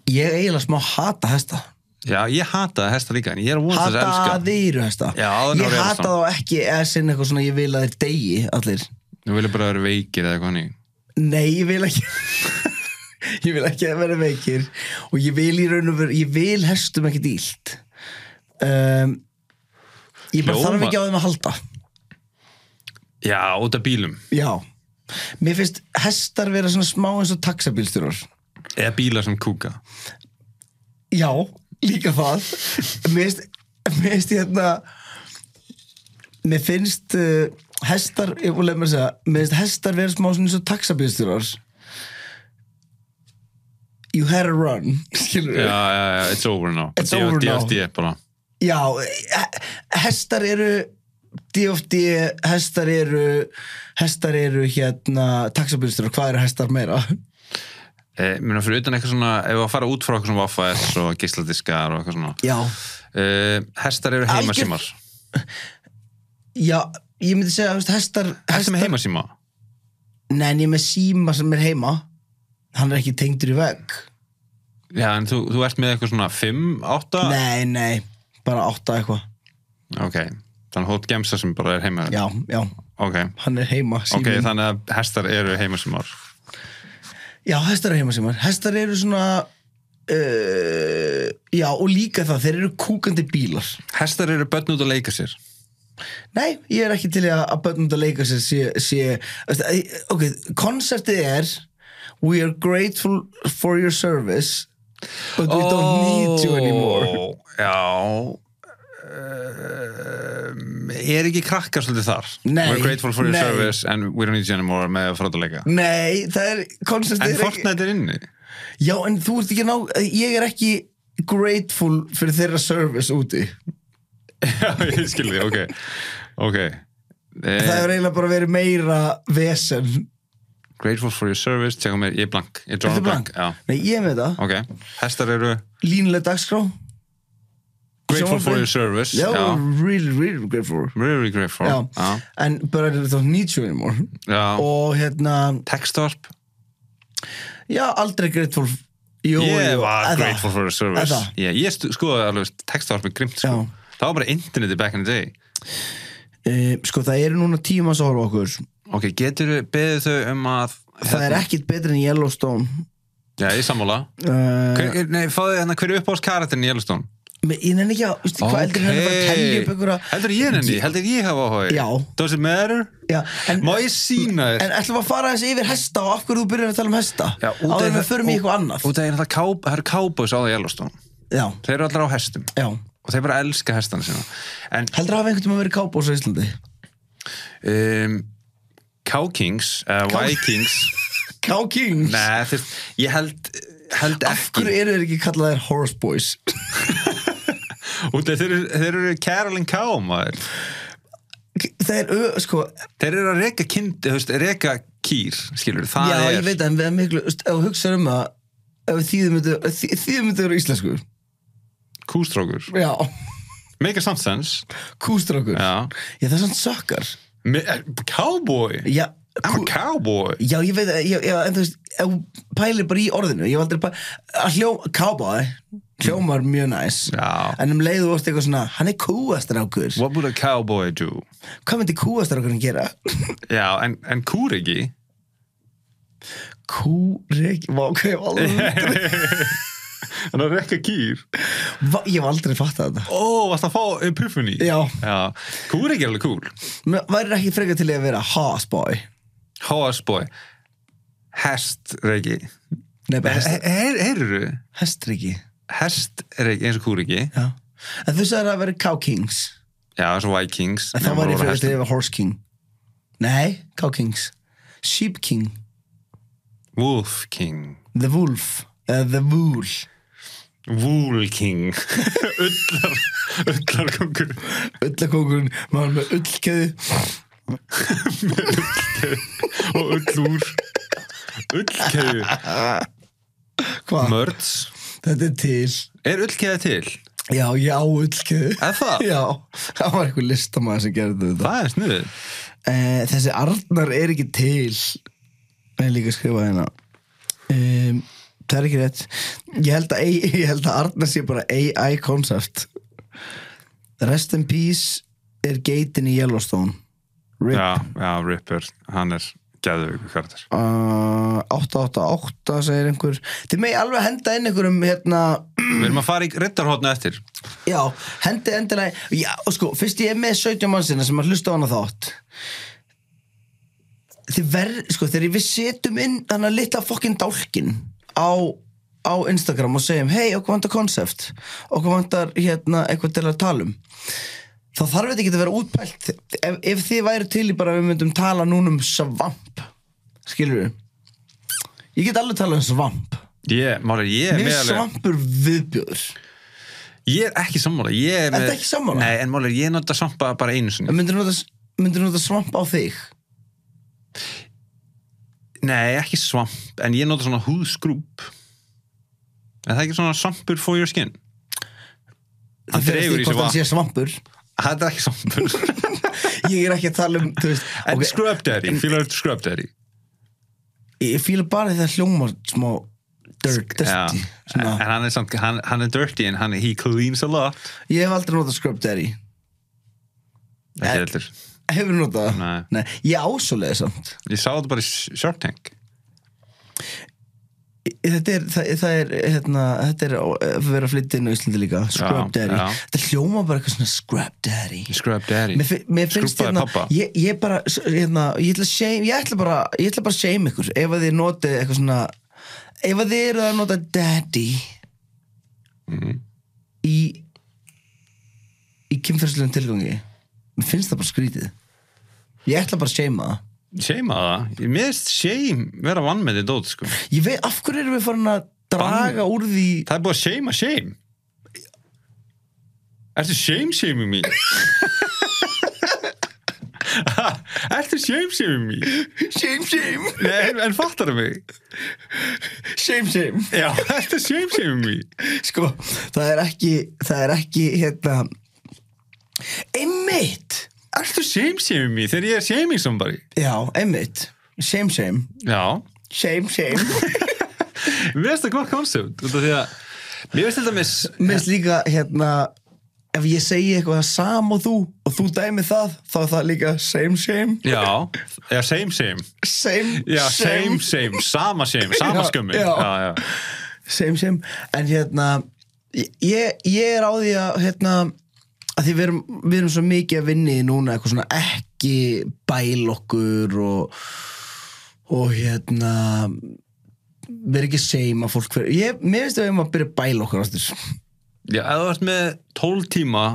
Speaker 1: ég er eiginlega smá hata hesta
Speaker 2: Já, ég hataði hesta líka en ég er að vonast þess að elska.
Speaker 1: hataði eru hesta
Speaker 2: Já, áður en
Speaker 1: ég
Speaker 2: að vera
Speaker 1: hata þá ekki eða sinna eitthvað svona ég vil að þeir degi allir
Speaker 2: Nú vil ég bara vera veikir eða eitthvað hannig.
Speaker 1: Nei, ég vil ekki Ég vil ekki að vera veikir Og ég vil í raun og veru Ég vil hestum ekkert ílt um, Ég bara
Speaker 2: Hljómar-
Speaker 1: þarf ekki á þeim að halda
Speaker 2: Já, út af bílum.
Speaker 1: Já Mér finnst hestar vera svona smá eins og taxabílstjórar
Speaker 2: Eða bílar sem kúka.
Speaker 1: Já, líka það Mér finnst, mér finnst hérna Mér finnst uh, hestar, ég vil leið mér að segja Mér finnst hestar vera smá svona eins og taxabílstjórar You had a run Skilur
Speaker 2: Já, já, já, it's over now.
Speaker 1: It's over now.
Speaker 2: DFD bara.
Speaker 1: Já, he- hestar eru DFD, hestar eru hestar eru hérna taxabílstur og hvað eru hestar meira?
Speaker 2: Eh, Mér fyrir utan eitthvað svona, ef við að fara út frá eitthvað svona Vaffa S og gísladiskar og eitthvað svona.
Speaker 1: Já
Speaker 2: Eh, hestar eru
Speaker 1: Algjör-
Speaker 2: heimasímar.
Speaker 1: Já, ég myndi segja, þú veist, hestar
Speaker 2: Hestar með heimasíma.
Speaker 1: Nei, en ég er með síma sem er heima Hann er ekki tengdur í vegg
Speaker 2: Já, en þú, þú ert með eitthvað svona 5, 8?
Speaker 1: Nei, nei, bara átta eitthvað
Speaker 2: Ok, þannig hótt gemsa sem bara er heima.
Speaker 1: Já, já,
Speaker 2: Ok,
Speaker 1: hann er heima
Speaker 2: ok,
Speaker 1: síminn.
Speaker 2: þannig að hestar eru heimasímar.
Speaker 1: Já, hestar eru heimasímar Hestar eru svona uh, Já, og líka það, þeir eru kúkandi bílar
Speaker 2: Hestar eru börn út að leika sér.
Speaker 1: Nei, ég er ekki til í að, að börnum þetta leika sér sé, sé veist, æ, ok, konceptið er we are grateful for your service but we don't need
Speaker 2: Oh.
Speaker 1: you anymore
Speaker 2: Ó, Já, Um, er ekki krakkar svolítið þar?
Speaker 1: Nei,
Speaker 2: We're grateful for your
Speaker 1: nei.
Speaker 2: service and we don't need you anymore með að fara út að leika.
Speaker 1: Nei, það er konceptið
Speaker 2: En
Speaker 1: er ekki
Speaker 2: Fortnite er inni.
Speaker 1: Já, en þú ert ekki að ná ég er ekki grateful fyrir þeirra service úti
Speaker 2: Eh. Já, ég skilði, ok Ok eh,
Speaker 1: það hefur eiginlega bara verið meira vesen
Speaker 2: Grateful for your service, tjekka mér, ég er blank Ég er
Speaker 1: Ertu
Speaker 2: Donald blank, já,
Speaker 1: Nei, ég er með það,
Speaker 2: ok Hestar eru
Speaker 1: línuleg dagskrá
Speaker 2: Grateful for your
Speaker 1: Sjónvarpi.
Speaker 2: service
Speaker 1: Já, really, really grateful
Speaker 2: Really grateful
Speaker 1: Já.
Speaker 2: Já,
Speaker 1: En bara er þetta need you anymore
Speaker 2: já.
Speaker 1: og hérna
Speaker 2: Textvarp
Speaker 1: Já, aldrei grateful jú,
Speaker 2: Ég
Speaker 1: jú,
Speaker 2: var
Speaker 1: eða-
Speaker 2: grateful for your service
Speaker 1: eða.
Speaker 2: yeah, Ég stu- skoðaði alveg textvarp er grimt sko.
Speaker 1: Já.
Speaker 2: Það var bara interneti back in the day
Speaker 1: Eh, Sko, það eru núna tíu manns að horfa á okkur
Speaker 2: Ok, getur beðið þau um að
Speaker 1: Það er ekkit betra en Yellowstone
Speaker 2: Já, ég er sammála
Speaker 1: uh,
Speaker 2: Hver, Nei, fáðu hérna, hver er uppáðs karatinn í Yellowstone?
Speaker 1: Ég nenni ekki að, veistu, hvað heldur henni að fara að telja upp einhverja
Speaker 2: Heldur ég henni, heldur ég hafa áhuga
Speaker 1: Já.
Speaker 2: Does it matter?
Speaker 1: Já, en,
Speaker 2: Má ég sína þér?
Speaker 1: en ætlum við að fara aðeins yfir hesta og af hverju þú byrjar að tala um hesta
Speaker 2: Já, út af-
Speaker 1: Áður en við förum í
Speaker 2: út-
Speaker 1: eitthvað annað
Speaker 2: Út af því að það er ká- það eru cowboys á það Yellowstone
Speaker 1: Já,
Speaker 2: Þeir eru allar á hestum
Speaker 1: já
Speaker 2: og þeir bara elska hestana sína En
Speaker 1: Heldur að hafa einhvern veginn verið kábós á Íslandi
Speaker 2: um, Cow Kings uh, Vikings
Speaker 1: Cow Kings
Speaker 2: Nei, þeir, ég held held
Speaker 1: Af hverju
Speaker 2: ekki
Speaker 1: eru þeir ekki kallað þeir Horse Boys?
Speaker 2: Út af þeir, eru- þeir eru Carolyn Cow maður.
Speaker 1: Það er, ö- sko,
Speaker 2: Þeir eru að reka kind, þú veist, reka kýr skilur, það
Speaker 1: já,
Speaker 2: er
Speaker 1: ég veit að en við erum miklu, þú veist, ef þú hugsaður um það, ef þýðum myndu, þýðum myndu eru íslensku,
Speaker 2: kústrókur
Speaker 1: já,
Speaker 2: Make a some sense
Speaker 1: kústrákur,
Speaker 2: Já.
Speaker 1: já, það er svona sökkar,
Speaker 2: Me- eh, Cowboy
Speaker 1: já,
Speaker 2: I'm a
Speaker 1: kú-
Speaker 2: cowboy
Speaker 1: já, ég veit að, já, já, en þú veist, ef þú pælir bara í orðinu, ég hef aldrei pælir, að hljó, cowboy, hljómar mjög næs,
Speaker 2: Já.
Speaker 1: en um leiðu vorst eitthvað svona, hann er kúastrákur,
Speaker 2: What would a cowboy do?
Speaker 1: hvað myndi kúastrákurinn gera?
Speaker 2: Já, en, en kúr ekki
Speaker 1: Kúreg, vá, ok, ég hef aldrei,
Speaker 2: Hann er að rekka kýr
Speaker 1: vá, ég hef aldrei fattað þetta,
Speaker 2: Ó, varst að fá epiphany
Speaker 1: Já.
Speaker 2: Já. Kúr ekki er alveg kúl
Speaker 1: Mér væri ekki frekar til í að vera horseboy,
Speaker 2: Hóasboy Hestreiki
Speaker 1: nei, bara hest,
Speaker 2: Heyrðu,
Speaker 1: hestriki,
Speaker 2: hestreiki eins og kúr ekki
Speaker 1: Já. En þú sagðir að vera Cow Kings
Speaker 2: Já, eins og Vikings
Speaker 1: En þá var ég fyrir
Speaker 2: Hestum.
Speaker 1: að vera Horse King Nei, Cow Kings Sheep King,
Speaker 2: Wolf King
Speaker 1: The Wolf uh, The Wool
Speaker 2: Wool King Ullar Ullarkongur
Speaker 1: Ullakókurinn, maður með ullkeðu
Speaker 2: og ullúr Ullkeðu
Speaker 1: Hvað?
Speaker 2: Mörds
Speaker 1: Þetta er til
Speaker 2: Er ullkeða til?
Speaker 1: Já, já, ullkeðu
Speaker 2: Er það?
Speaker 1: Já, það var eitthvað listamaður sem gerði þetta
Speaker 2: Það er snuðið
Speaker 1: uh, Þessi Arnar er ekki til Það er líka að skrifa hérna um, Það er ekki rétt Ég held að, AI ég held að Arnar sé bara AI concept Rest in Peace er geitin í Yellowstone Rip
Speaker 2: Já, já, Ripper, hann er geðvöku karakter
Speaker 1: uh, 888 segir einhver Þið megi alveg henda inn einhverjum hérna,
Speaker 2: Við erum að fara í rittarhóttna eftir
Speaker 1: Já, hendi endilega já, og sko, Fyrst ég er með 17 mannsina sem að hlusta á hana þátt Þið verð, sko, þegar við setjum inn þannig að litla fokkin dálkin á, á Instagram og segjum hei, okkur vantar konsept okkur vantar hérna eitthvað til að tala um þá þarf þetta ekki að vera útpælt ef, ef þið væri til í bara að við myndum tala núna um svamp skilur við ég get alveg talað um svamp
Speaker 2: Ég, máli, ég er
Speaker 1: mér
Speaker 2: með
Speaker 1: er
Speaker 2: alveg
Speaker 1: svampur viðbjóður
Speaker 2: Ég er ekki sammála Ég er
Speaker 1: Ertu
Speaker 2: með-
Speaker 1: ekki sammála?
Speaker 2: Nei, en máli, ég nota svampa bara einu sinni
Speaker 1: En myndir nota, myndir nota svamp á þig
Speaker 2: Nei, ekki svamp En ég nota svona húðskrúp En það er ekki svona svampur for your skin Hann
Speaker 1: það fer
Speaker 2: dregur
Speaker 1: eftir
Speaker 2: í sig
Speaker 1: hvort hann
Speaker 2: vatn
Speaker 1: sé svampur
Speaker 2: Það er ekki svampur
Speaker 1: ég er ekki að tala um þú veist,
Speaker 2: En
Speaker 1: ok,
Speaker 2: scrub daddy, fílar þetta scrub daddy
Speaker 1: ég fíla bara þegar hljómar smá dirt,
Speaker 2: Já,
Speaker 1: dirty
Speaker 2: en
Speaker 1: svona.
Speaker 2: hann er, samt, hann, hann er dirty en hann, he cleans a lot
Speaker 1: ég hef aldrei notað scrub daddy
Speaker 2: Ekki heldur
Speaker 1: hefur notað það?
Speaker 2: Nei.
Speaker 1: Nei, ég ásólega samt
Speaker 2: Ég sá þetta bara í Shark Tank
Speaker 1: þetta er, það, það er, hérna, þetta er að vera að flytja inn á Íslandi líka Scrub
Speaker 2: Já,
Speaker 1: Daddy,
Speaker 2: já.
Speaker 1: þetta hljóma bara eitthvað svona Scrub Daddy
Speaker 2: Scrub daddy
Speaker 1: Mér, fi- mér finnst
Speaker 2: Skrúbbaði
Speaker 1: hérna,
Speaker 2: pabba.
Speaker 1: ég, ég bara hérna, ég ætla að shame, ég ætla bara ég ætla bara að shame ykkur ef að þið notið eitthvað svona ef að þið eru að nota daddy
Speaker 2: Mhm.
Speaker 1: í í kynferðslegum tilgangi mér finnst það bara skrítið ég ætla bara að shame það
Speaker 2: Shame að það Mér finnst shame vera vann með þetta dót sko.
Speaker 1: ég veit af hverju erum við farin að draga úr því
Speaker 2: Það er búið að shame að shame Ertu shame shaming me? Ha, Ertu shame shaming me?
Speaker 1: shame shame,
Speaker 2: Nei, en, en fattar mig
Speaker 1: shame shame
Speaker 2: Já, ertu shame shaming me?
Speaker 1: sko, það er ekki það er ekki hérna einmitt
Speaker 2: Ertu shame shaming me þegar ég er shaming somebody?
Speaker 1: Já, einmitt Shame, shame
Speaker 2: Já,
Speaker 1: Shame, shame
Speaker 2: Mér finnst það gott koncept út af því að Mér finnst þetta mis
Speaker 1: Mér finnst líka hérna Ef ég segi eitthvað sam og þú Og þú dæmi það Þá er það líka same, shame
Speaker 2: Já, já, same same
Speaker 1: Same,
Speaker 2: Já, same same, sama same, sama
Speaker 1: Já,
Speaker 2: skömmi
Speaker 1: já.
Speaker 2: já, já.
Speaker 1: Same, same En hérna Ég, ég er á því að hérna að því við erum, við erum svo mikið að vinni núna eitthvað svona ekki bæl okkur og og hérna vera ekki seima fólk fyrir ég, mér finnst að við erum að byrja að bæla okkur ástur
Speaker 2: já ef þú ert með 12 tíma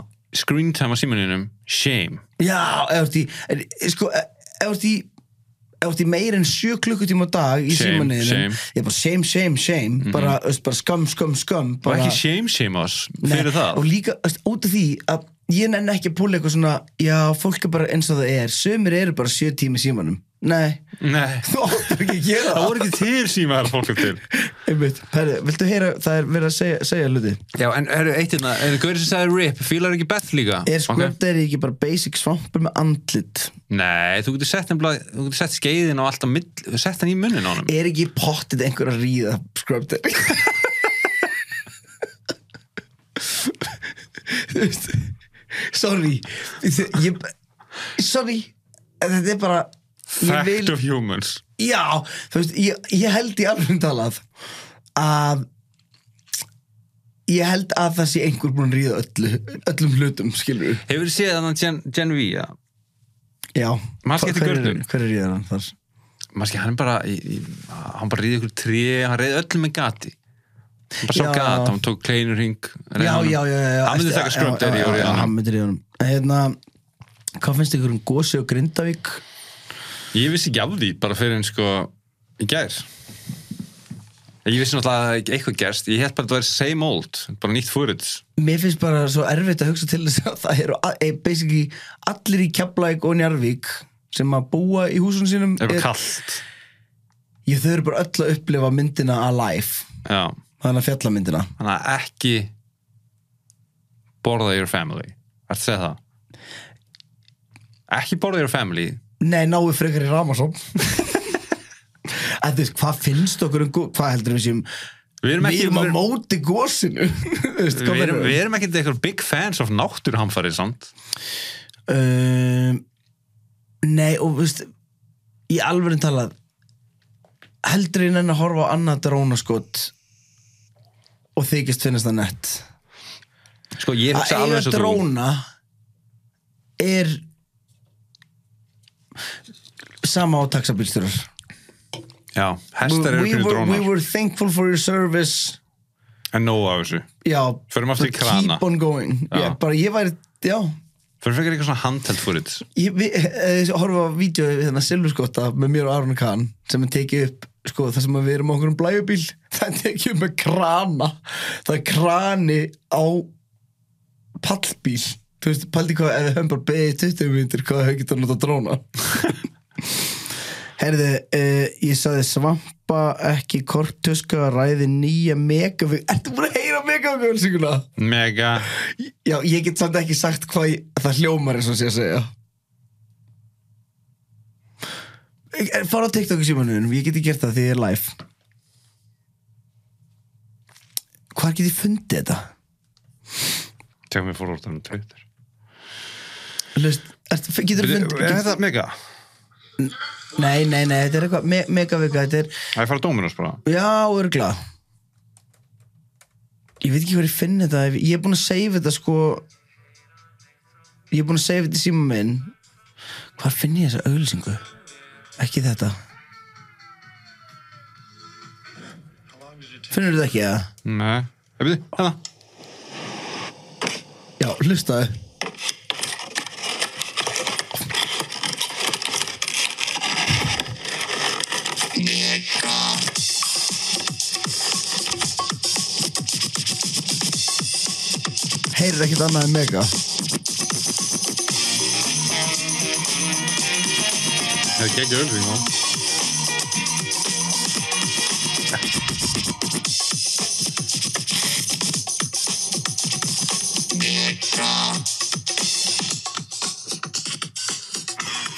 Speaker 2: screen time á símaninum, shame
Speaker 1: eh, Já, ef þú ert í en, sko, ef þú ert í ef þú ert í meir en sjö klukkutíma á dag í
Speaker 2: Shame,
Speaker 1: símanniðinu
Speaker 2: shame. Mhm.
Speaker 1: ég bara shame, shame, shame bara, öst, bara skam, skam, skam
Speaker 2: og
Speaker 1: bara,
Speaker 2: ekki shame shame us fyrir það
Speaker 1: og líka öst, út af því að ég nenni ekki að púla eitthvað svona já, fólk er bara eins og það er sömur eru bara sjö tími í símanum nei,
Speaker 2: Nei,
Speaker 1: þú áttur ekki að gera
Speaker 2: það
Speaker 1: það
Speaker 2: voru ekki til símaðar fólkum til
Speaker 1: einmitt, herri, viltu heyra það er verið að segja, segja hluti
Speaker 2: Já, en eru eitt hérna, er gaurið sem sagði RIP fílar ekki Beth líka?
Speaker 1: er sko.
Speaker 2: Ok.
Speaker 1: skvölderi ekki bara basic svampur með andlit
Speaker 2: Nei, þú getur sett, nefnilega- þú getur sett skeiðin og alltaf mill, þú sett hann í munnin á hann
Speaker 1: er ekki pottið einhver að ríða skröptir sorry ég, sorry en þetta er bara ég
Speaker 2: Fact
Speaker 1: vil,
Speaker 2: of humans
Speaker 1: já þú veist, ég, ég held í alveg talað að ég held að það sé einhver búinn að ríða öllu, öllum hlutum skilur við
Speaker 2: Hefur þið séð hann Gen, Gen V ja?
Speaker 1: já,
Speaker 2: Maður
Speaker 1: Hva-
Speaker 2: skiptir
Speaker 1: hver, er,
Speaker 2: görnum.
Speaker 1: hver er ríðan hann þar
Speaker 2: Maður skil, hann er bara í, í, hann bara reyði ykkur tré, hann reyði öllum með gati hann bara sá
Speaker 1: Já.
Speaker 2: gat, hann tók kleinur hring
Speaker 1: já, já, já, já, já
Speaker 2: Hann myndi
Speaker 1: Eftir-
Speaker 2: taka skrömt er í
Speaker 1: já, já, já,
Speaker 2: orðið
Speaker 1: hann myndi ríða honum En hérna, hvað finnst ykkur um Gósi og Grindavík
Speaker 2: Ég vissi ekki af því bara fyrir en sko í gær Ég vissi náttúrulega að eitthvað gerst Ég held bara að það væri same old bara nýtt fúrið
Speaker 1: mér finnst bara svo erfitt að hugsa til þess að það eru a- eh, basically allir í Keflæk og Njarvík sem að búa í húsunum sínum
Speaker 2: Það er bara kallt
Speaker 1: ég þau eru bara öll að upplifa myndina alive,
Speaker 2: Já,
Speaker 1: þannig að fjalla myndina
Speaker 2: þannig að ekki borða your family Ertu að segja það? Ekki borða your family
Speaker 1: nei, náu frekar í Ramason að þú veist, hvað finnst okkur um Gó- hvað heldur við séum
Speaker 2: Við erum
Speaker 1: við
Speaker 2: ekki
Speaker 1: erum
Speaker 2: við-
Speaker 1: að móti gósinu Þú veist, hvað
Speaker 2: Við erum,
Speaker 1: meinarðu?
Speaker 2: við erum ekkert eitthvað big fans of náttúrhamfarið samt
Speaker 1: um, Nei og veist Í alveg talað Heldur en enn að horfa á annað drónaskot Og þykist finnast það nett
Speaker 2: Sko ég hugsa
Speaker 1: Að eiga
Speaker 2: alveg eins og þú
Speaker 1: dróna Er Sama á taxabílstjórar
Speaker 2: Já, hestar eru
Speaker 1: we,
Speaker 2: fyrir
Speaker 1: were, we
Speaker 2: drónar
Speaker 1: were thankful for your service
Speaker 2: En nóg af þessu
Speaker 1: Já
Speaker 2: Förum aftur í
Speaker 1: but
Speaker 2: krana.
Speaker 1: Keep on going
Speaker 2: Já.
Speaker 1: já. Bara ég væri, já
Speaker 2: Fyrir fyrir eitthvað svona handheld fúrið
Speaker 1: Ég vi- eh, horfa á vídeo við þennan Silvurskotta með mér og Aron Kahn sem er tekið upp, sko, það sem að við erum á okkur um blæjubíl, það er tekið upp með krana það er krani á pallbíl þú veist, paldi hvað, ef við höfum bara beðið í 20 minnir, hvað hefur getað notað dróna Herði, uh, ég saði svampa ekki kortuska ræði nýja megavög, ertu búin að heyra megavögulsinguna?
Speaker 2: Mega
Speaker 1: Já, ég get samt ekki sagt hvað ég, það hljómar eins og sé að segja Ég- er- Fara á TikTok í símanunum, ég get ekki gert það því ég er live Hvar get ég fundið þetta?
Speaker 2: Tegum við fórhórtanum Twitter
Speaker 1: Lust, ert, getur þú fundið
Speaker 2: Er
Speaker 1: get,
Speaker 2: þetta mega?
Speaker 1: Nei, nei, nei, þetta er eitthvað me, megavika Þetta er,
Speaker 2: Það er farað Dominos bara
Speaker 1: já, örgla Ég veit ekki hvað ég finn þetta ef- Ég er búinn að save þetta sko Ég er búinn að save þetta í síman minn Hvar finn ég þessa auglýsingu? Ekki þetta Finnur þetta ekki eða?
Speaker 2: Nei Það byrði, hérna
Speaker 1: Já, hlustaðu Heyrir ekkert annað en mega
Speaker 2: Það er geggjur öllu Já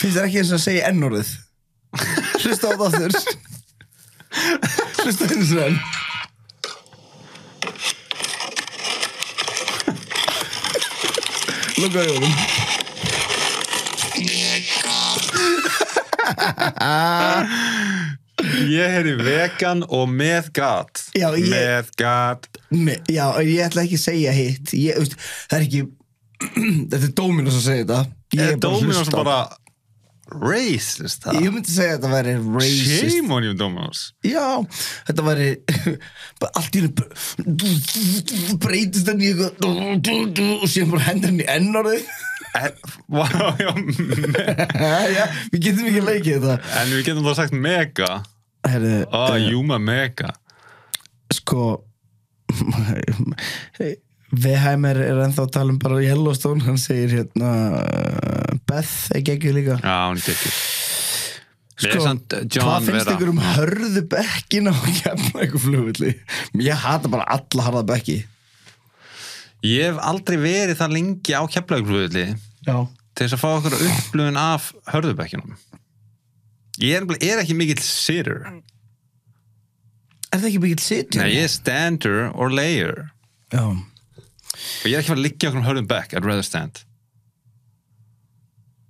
Speaker 1: Finnst þér ekki eins og að segja ennorðið? Hlusta á það aftur Hlusta á þessu enn Lugga í orðum
Speaker 2: Ég heyri vegan og með gat
Speaker 1: Já, ég-
Speaker 2: Með gat
Speaker 1: Me, já, ég ætla ekki að segja hitt ég, veist, Það er ekki Þetta er Dóminus að segja þetta Ég
Speaker 2: Ég er
Speaker 1: bara að
Speaker 2: Dominos
Speaker 1: hlusta.
Speaker 2: bara Racist það
Speaker 1: Ég myndi segja að þetta væri racist
Speaker 2: Shame on you Dominos
Speaker 1: Já, þetta væri bara allt í hennu breytist henni í eitthvað og síðan bara hendur henni í ennorðið
Speaker 2: Vá, já, me-
Speaker 1: já, við getum ekki leikið þetta
Speaker 2: en við getum þá sagt mega
Speaker 1: Herðu,
Speaker 2: ah,
Speaker 1: eh,
Speaker 2: Júma mega
Speaker 1: sko Veheimer er ennþá að tala um bara Yellowstone, hann segir hérna eh, Beth er geggjuð líka
Speaker 2: Já, hún er ekki
Speaker 1: Sko,
Speaker 2: John
Speaker 1: Hvað finnst
Speaker 2: vera
Speaker 1: ykkur um hörðu bekkin á kemna flugulli? Ég hata bara alla harða bekki
Speaker 2: Ég hef aldrei verið það lengi á keflaugflöðli
Speaker 1: Já
Speaker 2: til þess að fá okkur upplöfun af hörðubekkinum Ég er, nefnilega- er ekki mikill sitter
Speaker 1: Er það ekki mikill sitjum?
Speaker 2: Nei, ég er stander or layer
Speaker 1: Já
Speaker 2: og ég er ekki að fara að liggja okkur um hörðum back I'd rather stand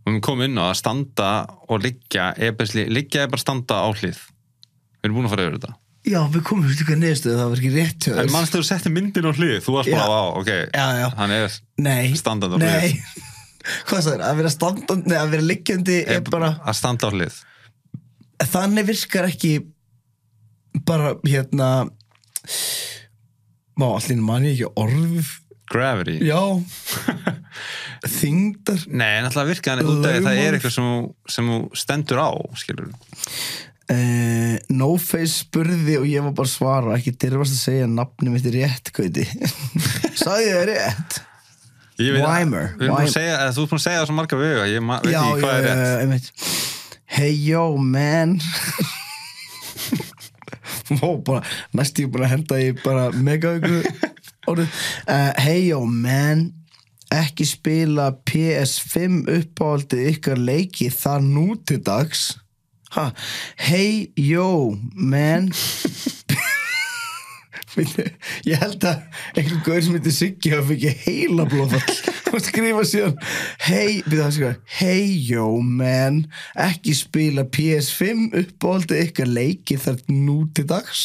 Speaker 2: og við komum inn á að standa og liggja er besli, liggja er bara standa á hlið við erum búin að fara yfir þetta
Speaker 1: Já, við komum við eitthvað neðstöð, það var ekki rétt hjá
Speaker 2: en
Speaker 1: þér.
Speaker 2: mannstu þú setti myndin á hlið þú varst bara á, ok,
Speaker 1: Já, já.
Speaker 2: hann er
Speaker 1: Nei
Speaker 2: standandi á
Speaker 1: Nei
Speaker 2: hlið
Speaker 1: Hvað sagðir, að vera standandi, nei, að vera liggjandi er bara
Speaker 2: að standa á hlið
Speaker 1: Þannig virkar ekki bara, hérna Má, allir mann ég ekki orð
Speaker 2: gravity
Speaker 1: Já Þingdar
Speaker 2: Nei, en alltaf virka hann út af því að það
Speaker 1: Lögmál.
Speaker 2: er eitthvað sem, þú- sem þú stendur á, skilur
Speaker 1: Uh, Noface spurði og ég var bara að svara ekki dyrfast að segja að nafni mitt er rétt Kauti sagði það rétt
Speaker 2: Ég veit að-
Speaker 1: Weimer,
Speaker 2: Við erum búin
Speaker 1: Weimer.
Speaker 2: að segja, eða þú ert búin að segja það svo marga vega, ég ma- veit
Speaker 1: já,
Speaker 2: ekki
Speaker 1: já,
Speaker 2: hvað er
Speaker 1: já,
Speaker 2: rétt.
Speaker 1: einmitt hey yo man Ó, bara, næstu ég búin að henda ég bara mega ykkur orðið uh, hey yo man ekki spila PS5 uppáhaldið ykkar leiki þar nú til dags ha, hey yo man Myndi, ég held að einhver gaur sem heitir Siggi hafa fikið heila blóðfall og skrifa síðan hey, við það skrifa hey yo man ekki spila PS5 uppbóldi ykkar leiki þar nú til dags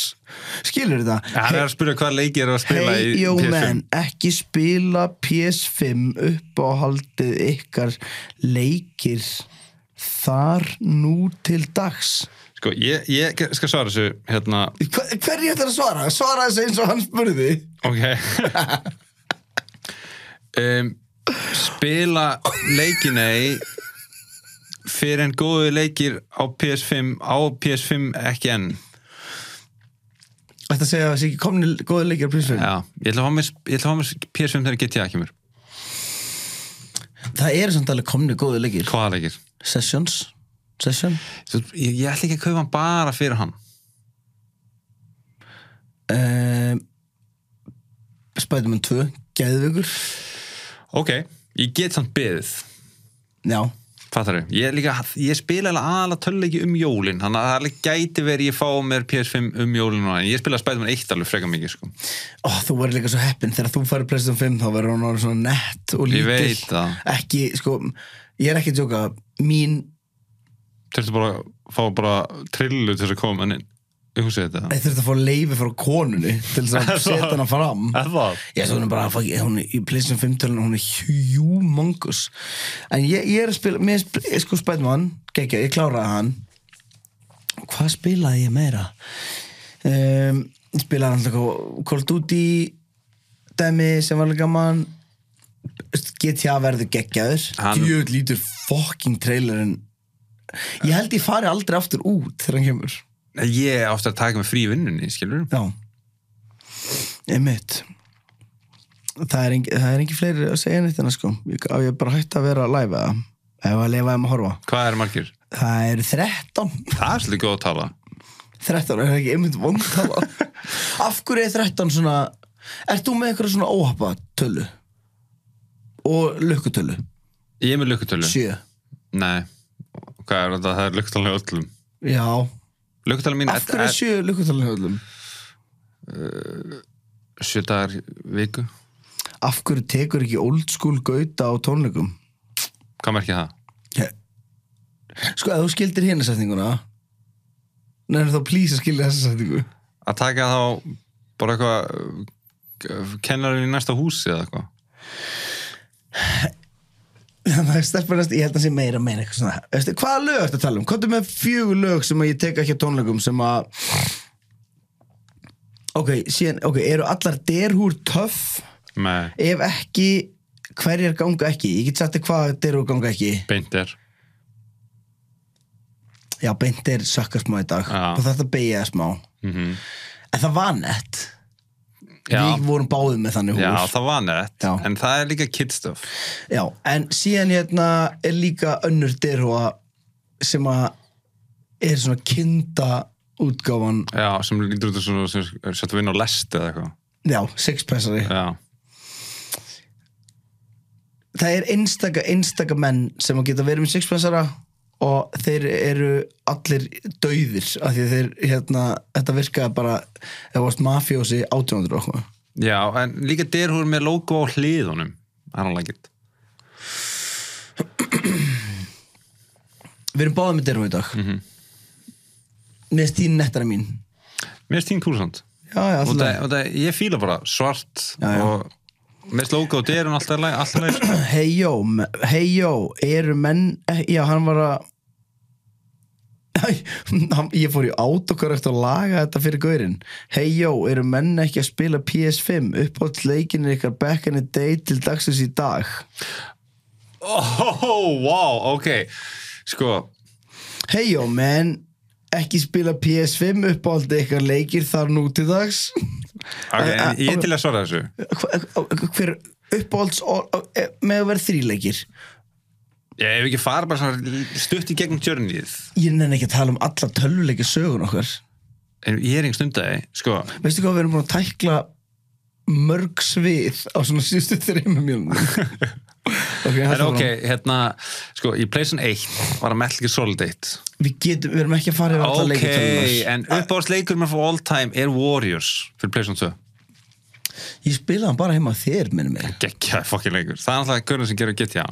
Speaker 1: skilur þetta
Speaker 2: Ja, Hann er að spyrja hvað leiki er að spila
Speaker 1: hey
Speaker 2: í
Speaker 1: yo man
Speaker 2: PS5.
Speaker 1: ekki spila PS5 uppáhaldið ykkar leikir þar nú til dags
Speaker 2: Sko, ég, ég skal svara þessu, hérna,
Speaker 1: Hver, hverju ætlar að svara? Svara þessu eins og hann spurði
Speaker 2: ok. um, spila leikinei fyrir en góðu leikir á PS5, á PS5 ekki enn.
Speaker 1: Þetta segja að það sé ekki komni góði leikir á PS5
Speaker 2: Já, ég ætla að fá mér, ég ætla að fá mér PS5 þegar GTA kemur.
Speaker 1: Það eru samt alveg komni góðu leikir
Speaker 2: Hvaða leikir?
Speaker 1: Sessions Session
Speaker 2: Þú, ég, ég ætla ekki að kaupa hann bara fyrir hann
Speaker 1: uh, Spiderman 2 Geðvögur
Speaker 2: ok, ég get samt beðið
Speaker 1: Já
Speaker 2: fattar þau, ég, er líka, ég spila alveg aðalega töluleiki um jólin þannig að það alveg gæti verið ég fá mér PS5 um jólin og ég spila Spiderman 1 alveg frekar mikið sko.
Speaker 1: Ó, þú verður líka svo heppin Þegar þú færir Playstation 5 þá verður hún orðin svona nett og
Speaker 2: ég
Speaker 1: lítil
Speaker 2: veit það,
Speaker 1: Ekki, sko Ég er ekki að tjóka Mín
Speaker 2: þurftu bara að fá bara trillu til þess að koma inn ég húsi þetta
Speaker 1: Ég þurfti að fá leifi frá konunni Til þess að setja hana fram
Speaker 2: það?
Speaker 1: Já, svo hún er bara fuck, hún er, í Playstation 5 tölun hún er humongous en ég, ég er að spila mér, sp- ég sko Spiderman, geggja, ég kláraði hann hvað spilaði ég meira? Um, ég spilaði hann alltaf Call of Duty dæmi sem var alveg gaman GTA verður geggjaður
Speaker 2: Hann-
Speaker 1: djöð lítur fucking trailerinn ég held ég fari aldrei aftur út þegar hann kemur
Speaker 2: ég átti að taka mig frí í vinnunni, skilur
Speaker 1: Já Einmitt Það er engin, það er engin fleiri að segja neitt en að sko Ég- Á ég bara hætti að vera að læfa Ef að leifa um að horfa
Speaker 2: hvað er margir?
Speaker 1: Það eru 13
Speaker 2: það er svolítið góð að tala
Speaker 1: 13 er það ekki einmitt vongtala Af hverju er 13 svona Ert þú með eitthvað svona óhappa tölu? Og lukkutölu?
Speaker 2: ég er með lukkutölu,
Speaker 1: Sjö
Speaker 2: nei hvað er þetta, það er lukkutölu öllum
Speaker 1: Já
Speaker 2: lukkutölu mín
Speaker 1: Af hverju er sjö lukkutölu hjá öllum?
Speaker 2: sjö dagar viku
Speaker 1: Af hverju tekur ekki old school gauta á tónleikum?
Speaker 2: Hvað merkir það?
Speaker 1: Sko, ef þú skildir hérna setninguna Nefnir þá please að skilja þessa setningu
Speaker 2: Að taka þá bara eitthvað eh, kennarinn í næsta húsi eða eitthvað?
Speaker 1: Það er stelpunast, ég held að sé meira að meina eitthvað svona Veistu, Hvaða lög ertu að tala um? Hvað er með fjögur lög sem að ég tek ekki á tónleikum sem að Ok, síðan, ok, eru allar derhúr töff
Speaker 2: Nei,
Speaker 1: Ef ekki, hverjar ganga ekki ég get sagt þér hvað þetta eru að ganga ekki
Speaker 2: beint er
Speaker 1: já, beint er sökka smá í dag
Speaker 2: Já.
Speaker 1: og þetta beigjaði smá en
Speaker 2: mm
Speaker 1: það var nett
Speaker 2: Já.
Speaker 1: við vorum báðið með þannig hús
Speaker 2: Já, það var nett,
Speaker 1: Já.
Speaker 2: en það er líka kid stuff
Speaker 1: Já, en síðan hérna er líka önnur derhúa sem að er svona kinda útgáfan
Speaker 2: Já, sem lítur út af svona sem er sett að vinna á lest eða eitthvað
Speaker 1: já, sexpressari
Speaker 2: Já,
Speaker 1: það er einstaka, einstaka menn sem að geta verið með sixpensara og þeir eru allir dauðir af því að þeir, hérna, þetta virkaði bara ef varst mafjósi 1800 og okkur
Speaker 2: Já en líka derhúr með logo á hliðunum Það er hann lækitt
Speaker 1: Við erum báðið með derhúa í dag mm -hmm. Mér stín nettara mín
Speaker 2: Mér er stín kúlsand
Speaker 1: Já, já,
Speaker 2: og
Speaker 1: alltaf
Speaker 2: það, og það, ég fíla bara svart
Speaker 1: Já, já.
Speaker 2: og með slóka og derun alltaf læg, alltaf læg
Speaker 1: Heiðjó, heiðjó, eru menn eh, Já, hann var að Æ, hann- Ég fór í autokorrekt og laga þetta fyrir gaurinn Heiðjó, eru menn ekki að spila PS5 uppátt leikinir ykkar back in the day til dagsins í dag
Speaker 2: oh, wow, ok sko,
Speaker 1: Heiðjó, menn ekki spila PS5 uppátt ykkar leikir þar nú til dags
Speaker 2: ok,
Speaker 1: Eh, eh,
Speaker 2: en ég
Speaker 1: ok.
Speaker 2: er til að svara þessu
Speaker 1: Hva- Hver uppáhalds eh, með að vera þríleikir
Speaker 2: ég hef ekki farið bara svona stutt í gegnum tjörnið
Speaker 1: Ég nenni ekki að tala um alla tölvuleikja sögun okkar
Speaker 2: en ég er einhvern stundagi, sko
Speaker 1: Veistu hvað við erum búin að tækla mörg svið á svona síðustu þreymum mjölnum Ok,
Speaker 2: en
Speaker 1: haltu
Speaker 2: ok,
Speaker 1: áfram.
Speaker 2: hérna, sko, í Playson 1 var að Metal Gear Solid 1
Speaker 1: Við getum, við erum ekki að fara yfir alla
Speaker 2: ok,
Speaker 1: leikjartölunar
Speaker 2: en uppáðsleikur mér for all time er Warriors fyrir Playson 2
Speaker 1: Ég spilaði hann bara heima á þér, minnum mig
Speaker 2: geggjaði fokkin leikur, það er alltaf görðin sem gerir GTA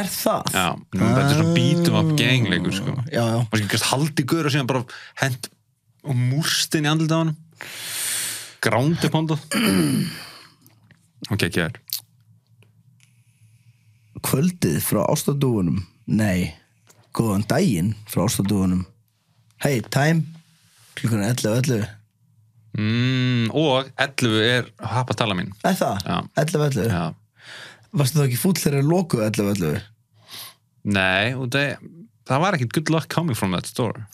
Speaker 1: Er það? Ah,
Speaker 2: já, nú, þetta er svona beat'em up gang leikur, sko
Speaker 1: Já, já,
Speaker 2: maður skilkast haldi gaur og síðan bara hent og múrstin í andlita á hann grándi pónda ok, ekki þér
Speaker 1: kvöldið frá ástadúunum Nei, góðan daginn frá ástadúunum Hey, time Klukkan er 11, 11
Speaker 2: mm, og 11 er hapa tala mín
Speaker 1: Er það?
Speaker 2: Já.
Speaker 1: 11, 11
Speaker 2: já.
Speaker 1: Varstu þá ekki fúll þegar að lokuðu 11, 11
Speaker 2: nei, og það, það var ekkit good luck coming from that store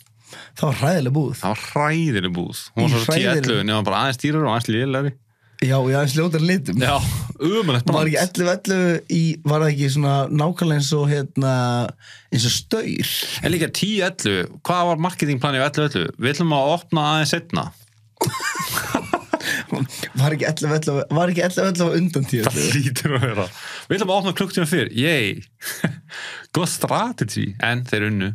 Speaker 1: Það var hræðilega búð
Speaker 2: það var hræðileg búð hún var
Speaker 1: Í
Speaker 2: svo 10-11
Speaker 1: hræðilegri.
Speaker 2: nema bara aðeins dýrar og aðeins lélæri
Speaker 1: Já, já, eins ljótar litum
Speaker 2: já, umulegt
Speaker 1: var
Speaker 2: brand
Speaker 1: ekki 11-11 í, var það ekki svona nákvæmlega eins og hérna, eins og staur
Speaker 2: en líka 10-11, hvað var marketingplanið á 11-11? við ætlum að opna aðeins setna
Speaker 1: var ekki 11-11 var ekki 11-11 undan
Speaker 2: Það
Speaker 1: 10-11
Speaker 2: lítur að vera Við ætlum að opna klukktíma fyrr, yey Góð strategi En þeir unnu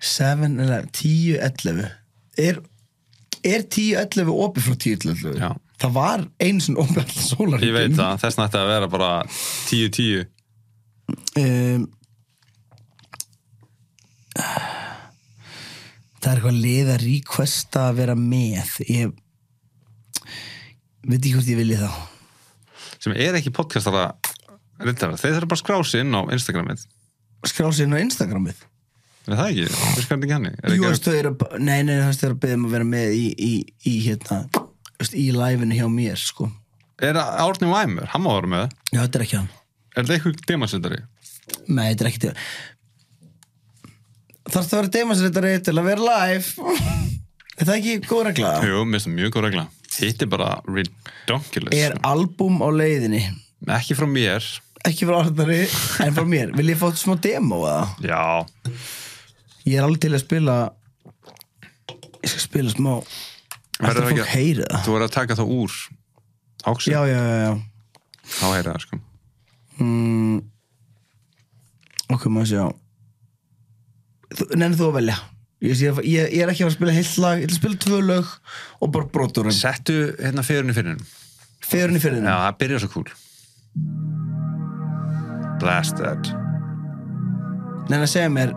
Speaker 1: 7-11, 10-11 er, er 10-11 opið frá 10-11
Speaker 2: Já.
Speaker 1: það var eins og opið allan
Speaker 2: Ég veit
Speaker 1: sólarhingin
Speaker 2: það, þess nætti að vera bara 10-10
Speaker 1: um, það er eitthvað lið að requesta að vera með ég veit ekki hvort ég vilji þá
Speaker 2: Sem er ekki podcastara reyndar. Þeir þurfa bara að skrási inn á Instagramið
Speaker 1: skrá sig inn á Instagramið
Speaker 2: Er það ekki? Við skrænum ekki henni Er
Speaker 1: Jú,
Speaker 2: ekki-
Speaker 1: þú veist, þau eru að- nei, nei, þú veist, þau eru að beða um að vera með í, í, í hérna, þú veist, í live-inu hjá mér, sko.
Speaker 2: Er það Árni Væmur? Hann má vera með það.
Speaker 1: Já, þetta er ekki hann.
Speaker 2: Er þetta eitthvað demasendari?
Speaker 1: Nei, þetta er ekki til. Þarf það að vera demasréttari til að vera live. er það ekki góð regla?
Speaker 2: Jú, mér finnst það mjög góð regla Hitt er bara redonkulous
Speaker 1: Er album á leiðinni?
Speaker 2: Ekki frá mér
Speaker 1: Ekki frá Arnari, en frá mér. Vil ég fá smá demo að
Speaker 2: Já,
Speaker 1: Ég er alveg til að spila, ég skal spila smá,
Speaker 2: Verður
Speaker 1: alltaf
Speaker 2: ekki-
Speaker 1: fólk heyrið það.
Speaker 2: þú verður að taka það úr Áksum,
Speaker 1: Já, já, já, já.
Speaker 2: þá heyrða það sko
Speaker 1: Mm. Ok, maður sjá Nenni þú að velja Ég, sé, að- ég, ég er ekki að fara að spila heilt lag Ég ætla að spila tvö lög og bara brotur um. hann
Speaker 2: Settu hérna fyririnu fyrir hennum
Speaker 1: Fyrir henni fyrir
Speaker 2: Já,
Speaker 1: henni
Speaker 2: það byrjar svo cool Blast that
Speaker 1: Nenni að segja mér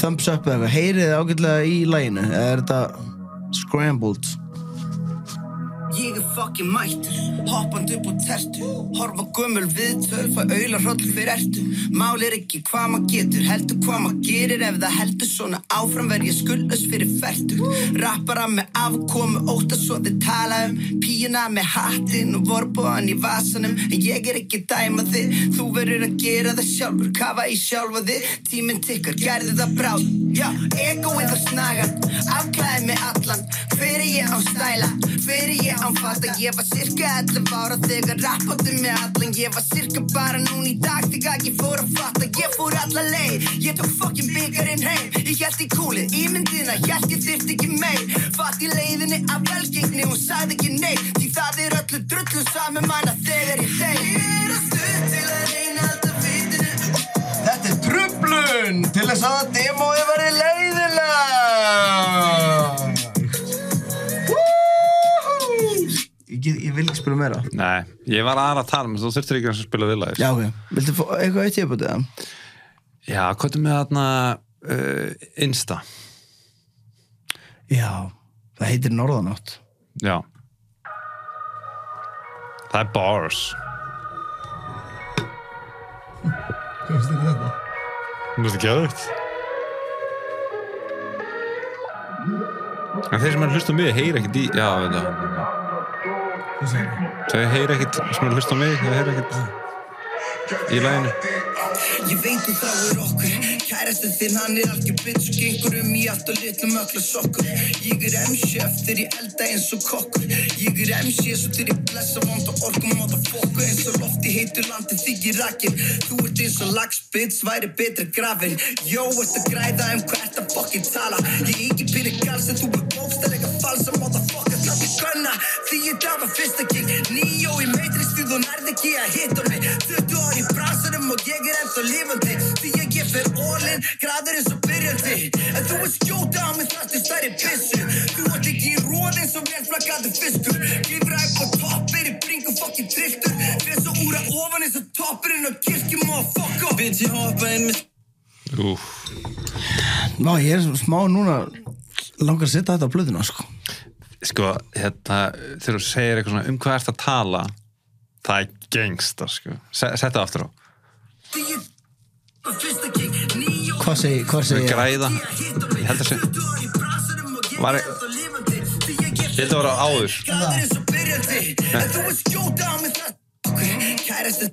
Speaker 1: thumbs up eða eitthvað Heyrið þið ágætlega í laginu Eða er þetta scrambled
Speaker 4: Ég er fucking mættur, hoppand upp á tertu Horfa gömul viðtöl, fæ auðla hroll fyrir ertu Mál er ekki hvað maður getur, heldur hvað maður gerir Ef það heldur svona áfram verð ég skuldlaus fyrir fertu Rappara með afkomu, óta svo þið tala um Píuna með hattinn og vorbóðan í vasanum En ég er ekki að dæma þig, þú verður að gera það sjálfur Kafa í sjálfa þig, tíminn tikkar, gerði það bráð Já, egoið og snagan, afklæði mig allan Fyrir ég á stæla, fyrir ég án fata Ég var cirka 11 ára þegar rappandi með allan Ég var cirka bara núna í dag þegar ég fór að fatta Ég fór alla leið, ég tók fokkin byggarinn heim Ég held í kúlið, ímyndina, held ég þyrft ekki meir Fatt í leiðinni af velgengni, hún sagði ekki nei Því það er öllu drullu saman manna þegar ég þeim Ég er að stuð til að reyna alltaf vitinu
Speaker 1: Þetta er trublun til þess að demóið verði leiðilega. Ég, get- ég vil ekki spila meira.
Speaker 2: Nei, ég var aðra að tala, menn þú þurftir ekki að spila við lagið.
Speaker 1: Já, ok. Viltu fá eitthvað eitt ég búið það?
Speaker 2: Já, hvað er með þarna uh, Insta?
Speaker 1: Já, það heitir Norðanátt.
Speaker 2: Já. Það er bars.
Speaker 1: Hvað finnst þér þetta?
Speaker 2: Þú veist ekki að þetta? En þeir sem er að hlusta á mig heyra ekkert í... Já, veit það.
Speaker 1: Þú segir það.
Speaker 2: Þeir heyra ekkert sem er að hlusta á mig, þeir heyra ekkert í læginu.
Speaker 4: Ég veit þú þá er okkur Kærastu þinn hann er algjör bitch og Gengur um í allt og litlu mögla sokkur Ég er MC eftir ég elda eins og kokkur Ég er MC svo til ég blessa vond og orku móta fokku Eins og lofti heitur landi þig í rakin Þú ert eins og lags bitch væri betra grafin Jó, ert að græða um hvað ert að fokkin tala Ég er ekki pyrri gals en þú er bókstælega falsa móta fokka Slapp ég gunna því ég dafa fyrsta kick Nýjó í meitristuð og nærði ekki að hitta mig 20 ár í bransanum og ég er ennþá lifandi Því ég ég fer orlin, græður eins og byrjandi En þú er skjóta á mig þarstu stærri pissu Þú ert ekki í róð eins og velflakkaður fiskur Gifra upp á topp, er í bringu fokkin trilltur Fyrir svo úra ofan eins og toppurinn á kirkjum og fokk off Bitch, ég hoppa inn með
Speaker 2: Úf.
Speaker 1: Ná, ég er smá núna langar að setja þetta á blöðina, sko.
Speaker 2: Sko, hérna, þegar þú segir eitthvað svona um hvað ert að tala, það er gengsta, sko. Se- Setta aftur á.
Speaker 4: Því ég dafa fyrsta kick Nýjó
Speaker 1: Hvað segi, hvað
Speaker 2: Þau
Speaker 1: segi ég?
Speaker 2: græða. Ég held að sé. Var- Ég held að vera áður.
Speaker 4: Kærasti,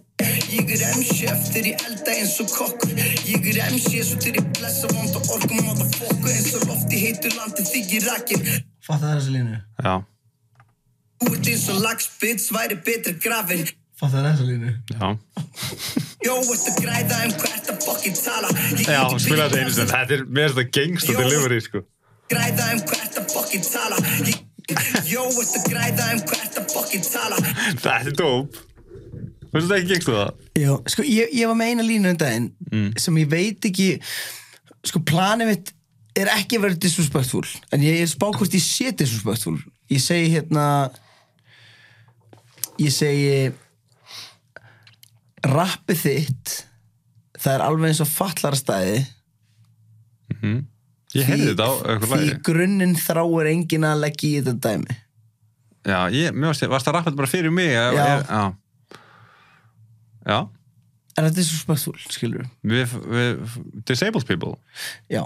Speaker 4: ég er MC eftir ég elda eins og kokkur Ég er MC svo til ég blessa vond og orku móta fokku Eins og lofti heitur landi þig í rakin
Speaker 1: Fatta þessi línu.
Speaker 2: Já,
Speaker 4: Þú ert eins og lagspits væri betra grafin
Speaker 1: Fatta þessi línu.
Speaker 2: já.
Speaker 4: Jó, ert að græða um hvað ert að fokkin tala Ég
Speaker 2: Já,
Speaker 4: get
Speaker 2: spila
Speaker 4: ekki
Speaker 2: þetta einu sem þetta er mér þetta gengsta delivery, sko.
Speaker 4: græða um hvað ert að fokkin tala Ég- Jó, ert að græða um hvað ert að fokkin tala
Speaker 2: Þetta er dóp. Þú veist þetta ekki gengsta það?
Speaker 1: Já, sko, ég, ég var með eina línu um daginn
Speaker 2: Mm.
Speaker 1: sem ég veit ekki, sko, planið mitt er ekki að vera disrespectful, en ég er spá hvort ég sé disrespectful. Ég segi hérna, ég segi, rappið þitt, það er alveg eins og fallarastæði,
Speaker 2: Ég heyrði þetta á eitthvað
Speaker 1: því
Speaker 2: lagi.
Speaker 1: grunninn þráir enginn að leggja í þetta dæmi.
Speaker 2: Já, ég, mér varst, varst það rappað bara fyrir mig. Já.
Speaker 1: Já.
Speaker 2: Ég, já. Já,
Speaker 1: Er það disrespectful, skilur við?
Speaker 2: við, við disabled people.
Speaker 1: Já.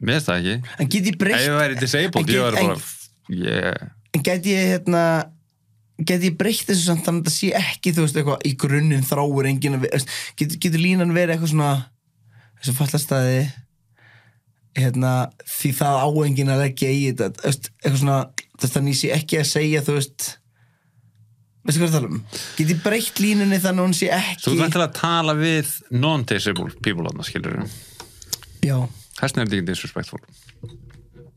Speaker 2: Mér veist það ekki.
Speaker 1: En get ég
Speaker 2: Ef ég
Speaker 1: breytt,
Speaker 2: væri disabled,
Speaker 1: En-
Speaker 2: ég væri
Speaker 1: en-
Speaker 2: bara... Yeah.
Speaker 1: en get ég hérna, get ég breytt þessu samt þannig að það sé ekki, þú veist, eitthvað í grunninn þráur enginn að, veist, getur, getur línan verið eitthvað svona, þessu fallastæði, hérna, því það á enginn að leggja í þetta, þú veist, eitthvað svona, þú veist, þannig ég sé ekki að segja, þú veist, veistu hvað ég er að tala um? Get ég breytt línunni þannig að hún sé ekki,
Speaker 2: Þú ert væntanlega að tala við non-disabled people þarna, skilur við.
Speaker 1: já,
Speaker 2: Þessna er þetta ekki disrespectful.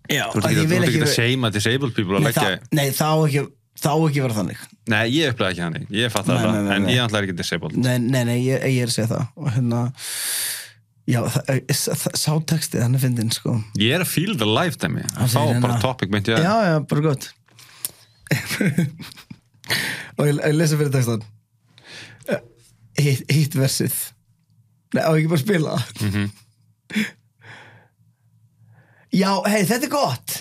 Speaker 1: já,
Speaker 2: Þú ert
Speaker 1: að
Speaker 2: ekki,
Speaker 1: ég
Speaker 2: þú
Speaker 1: vil
Speaker 2: ert ekki
Speaker 1: ekki,
Speaker 2: að seima disabled people að
Speaker 1: nei,
Speaker 2: leggja...
Speaker 1: það, nei, það á ekki, það á ekki að vera þannig.
Speaker 2: Nei, ég upplega ekki þannig. Ég fatt
Speaker 1: Nei,
Speaker 2: það,
Speaker 1: nei, nei,
Speaker 2: en
Speaker 1: nei.
Speaker 2: ég ætla ekki disabled.
Speaker 1: Nei, nei, nei ég, ég er að segja það og hérna já, það, það, sá textið hann er fyndin sko
Speaker 2: Ég er að feel the life, dæmi.
Speaker 1: Hann
Speaker 2: Þá
Speaker 1: segir
Speaker 2: bara
Speaker 1: hérna-
Speaker 2: topic myndi
Speaker 1: já,
Speaker 2: ég að...
Speaker 1: já, bara gott og ég, ég lesa fyrir textan Eh, hitt, hitt versið nei, á ekki bara að spila mm já, hei, þetta er gott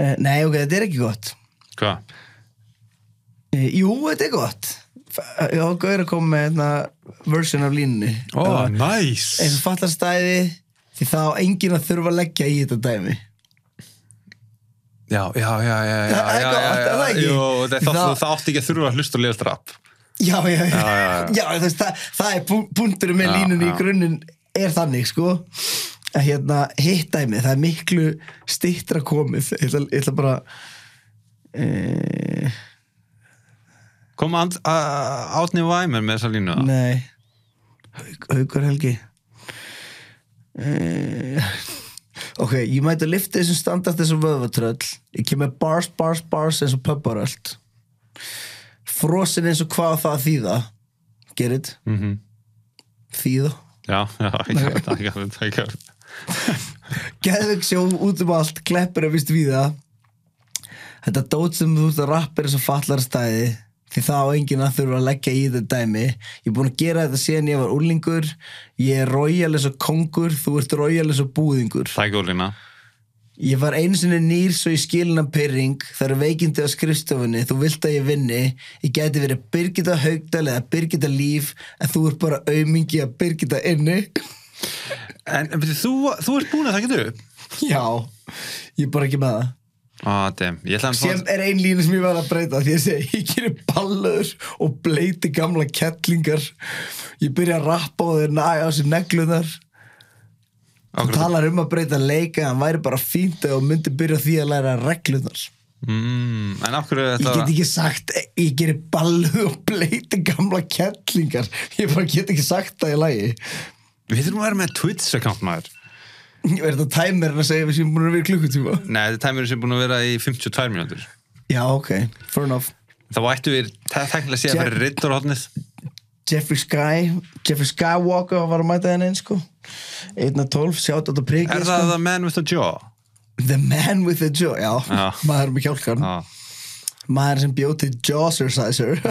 Speaker 1: Eh, Nei, ok, þetta er ekki gott
Speaker 2: Hvað?
Speaker 1: Eh, Jú, þetta er gott F- Já, Gaur að koma með hérna version af línunni Eh,
Speaker 2: Ó, oh,
Speaker 1: Ef-
Speaker 2: næs
Speaker 1: Ef þú fattar stæði því þá á enginn að þurfa að leggja í þetta dæmi
Speaker 2: Já, já, já, já, já,
Speaker 1: Það er
Speaker 2: já,
Speaker 1: gott,
Speaker 2: já,
Speaker 1: er það
Speaker 2: já
Speaker 1: ekki?
Speaker 2: Jú, það, það,
Speaker 1: Það-
Speaker 2: það átti ekki að þurfa að hlusta og liðast rap
Speaker 1: Já, já, já,
Speaker 2: já, já.
Speaker 1: þú veist, það, það er pú- punkturinn með
Speaker 2: Já,
Speaker 1: línunni
Speaker 2: já.
Speaker 1: í grunninn er þannig, sko að hérna, hitt dæmi, það er miklu stittra komið ég ætla, ég ætla bara e,
Speaker 2: Kom and, a- a- Átni Væmer með þessa línu eða?
Speaker 1: Nei Hauk, Haukur Helgi uh, Ok, ég mæti að lifta þessum standart þessum vöðvatröll Ég kem með bars, bars, bars eins og pöpparöld Frosin eins og hvað á það að þýða Get it?
Speaker 2: Mhm.
Speaker 1: Þýða
Speaker 2: Já, já, ég gaf þetta, ég gaf þetta, ég gaf þetta
Speaker 1: Geðvik sjó út um allt, kleppur er vist víða Þetta dót sem þú ert að rappa er eins og fallar stæði Því það á enginn að þurfa að leggja í þetta dæmi Ég er búin að gera þetta síðan ég var úlingur Ég er royal eins og kongur, þú ert royal eins og búðingur
Speaker 2: Það er góð lína
Speaker 1: Ég var einu sinni nýr svo í skilina pyrring, það eru veikindi á skrifstofunni, þú vilt að ég vinni, ég gæti verið Birgitta Haugdal eða Birgitta Líf, en þú ert bara aumingi að Birgitta inni.
Speaker 2: En veitir, þú, þú ert búin að það getur upp
Speaker 1: Já, ég er bara ekki með það.
Speaker 2: Á, dem, ég ætla að
Speaker 1: Sem er ein línu sem ég verð að breyta því að segja, ég gerir ballöður og bleiti gamla kettlingar, ég byrja að rappa og þeir næja á sér neglunar. Þú
Speaker 2: Akkurat.
Speaker 1: talar um að breyta leika, en væri bara fínt og myndi byrja á því að læra reglunar.
Speaker 2: mm, En af hverju
Speaker 1: Ég
Speaker 2: þetta
Speaker 1: get ekki sagt, ég gerir balluð og bleiti gamla kettlingar Ég bara get ekki sagt það í lagi
Speaker 2: Við þurfum að vera með Twitch account maður
Speaker 1: Ég verði þetta tæmirinn að segja við sem búin að vera í klukkutíma
Speaker 2: Nei, þetta er tæmurinn sem er búin að vera í 52 mínútur
Speaker 1: Já, ok, fair enough
Speaker 2: Þá ættu við te- teknilega séð
Speaker 1: Jack-
Speaker 2: að fyrir riddarhotnið
Speaker 1: Jeffrey Sky, Jeffrey Skywalker var að mæta henni einn sko 1.12, sjátt átt að priki
Speaker 2: Er
Speaker 1: sko.
Speaker 2: það The Man with the Jaw?
Speaker 1: The man with the jaw, já,
Speaker 2: Já.
Speaker 1: maður með kjálkan
Speaker 2: Já,
Speaker 1: Maður sem bjóð til Jawserciser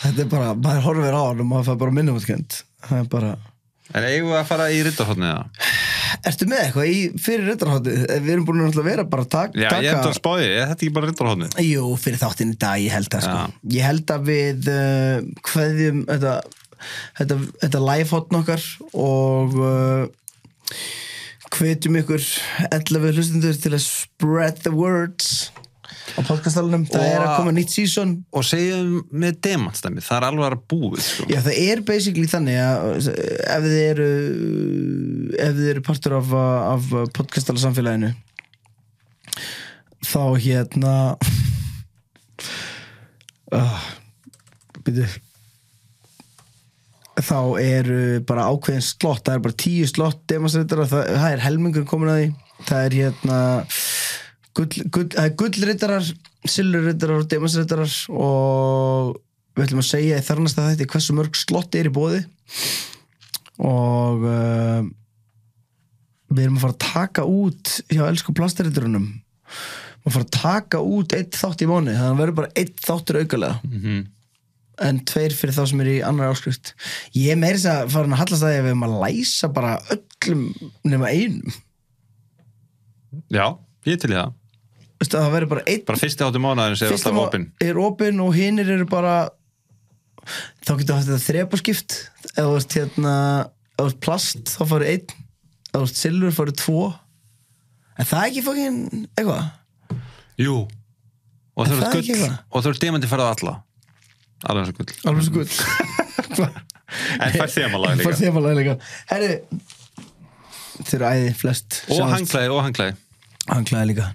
Speaker 1: Þetta er bara, maður horfir á hann og maður fær bara minnumutkennd Það er bara
Speaker 2: En eigum við að fara í riddarhotnið það?
Speaker 1: Ertu með eitthvað í fyrir riddarháttið? Við erum búin að náttúrulega vera bara að tak,
Speaker 2: Já, ég ætla
Speaker 1: taka
Speaker 2: að spáði, er þetta ekki bara riddarhotnið?
Speaker 1: Jú, fyrir þáttinn í dag, ég held að sko.
Speaker 2: Já.
Speaker 1: Ég held að við uh, hverjum þetta, þetta, þetta live-hotn okkar og uh, hvetjum ykkur 11 hlustundur til að spread the words á podcastalunum. Það
Speaker 2: Og-
Speaker 1: er að koma nýtt season.
Speaker 2: Og segjum með demantstæmi, það er alveg að búið sko.
Speaker 1: Já, það er basically þannig að uh, ef þið eru eh, ef þið eru partur af, uh, af podcastala samfélaginu þá hérna uh, byrju þá eru bara ákveðin slott það er bara tíu slott demasrittara það, það er helmingur komin að því það er hérna gull- gull- það er gullrittarar, silurrittarar og demasrittarar og við ætlum að segja í þarnasta þætti hversu mörg slott er í bóði og uh, við erum að fara að taka út hjá elsku plastarritturunum að fara að taka út eitt þátt í mánu þannig að það verður bara eitt þáttur aukalega
Speaker 2: Mhm.
Speaker 1: en tveir fyrir þá sem eru í annar áskrift ég er meira þess að farin að hallast að ég við erum að læsa bara öllum nema einum
Speaker 2: Já, ég til í það.
Speaker 1: Veistu, það verður bara einn
Speaker 2: Bara fyrsti áttu mánuðarins er alltaf
Speaker 1: má-
Speaker 2: opinn.
Speaker 1: er opinn og hinnir eru bara þá getur haft þetta þrepaskipt ef þú ert hérna ef þú ert plast þá farið einn ef þú ert silfur farið tvo en það er ekki fokkin eitthvað
Speaker 2: Jú. Og
Speaker 1: Er
Speaker 2: þú
Speaker 1: það
Speaker 2: eru
Speaker 1: ekki
Speaker 2: gull,
Speaker 1: það?
Speaker 2: og þú eru demandi farað alla. Alveg eins og gull.
Speaker 1: alveg svo gull
Speaker 2: En fær þemalag
Speaker 1: en
Speaker 2: líka.
Speaker 1: farið þemalag líka herru þeir eru æði flest
Speaker 2: Og
Speaker 1: Sjáumst.
Speaker 2: hangklæði, og hangklæði.
Speaker 1: hanglaði líka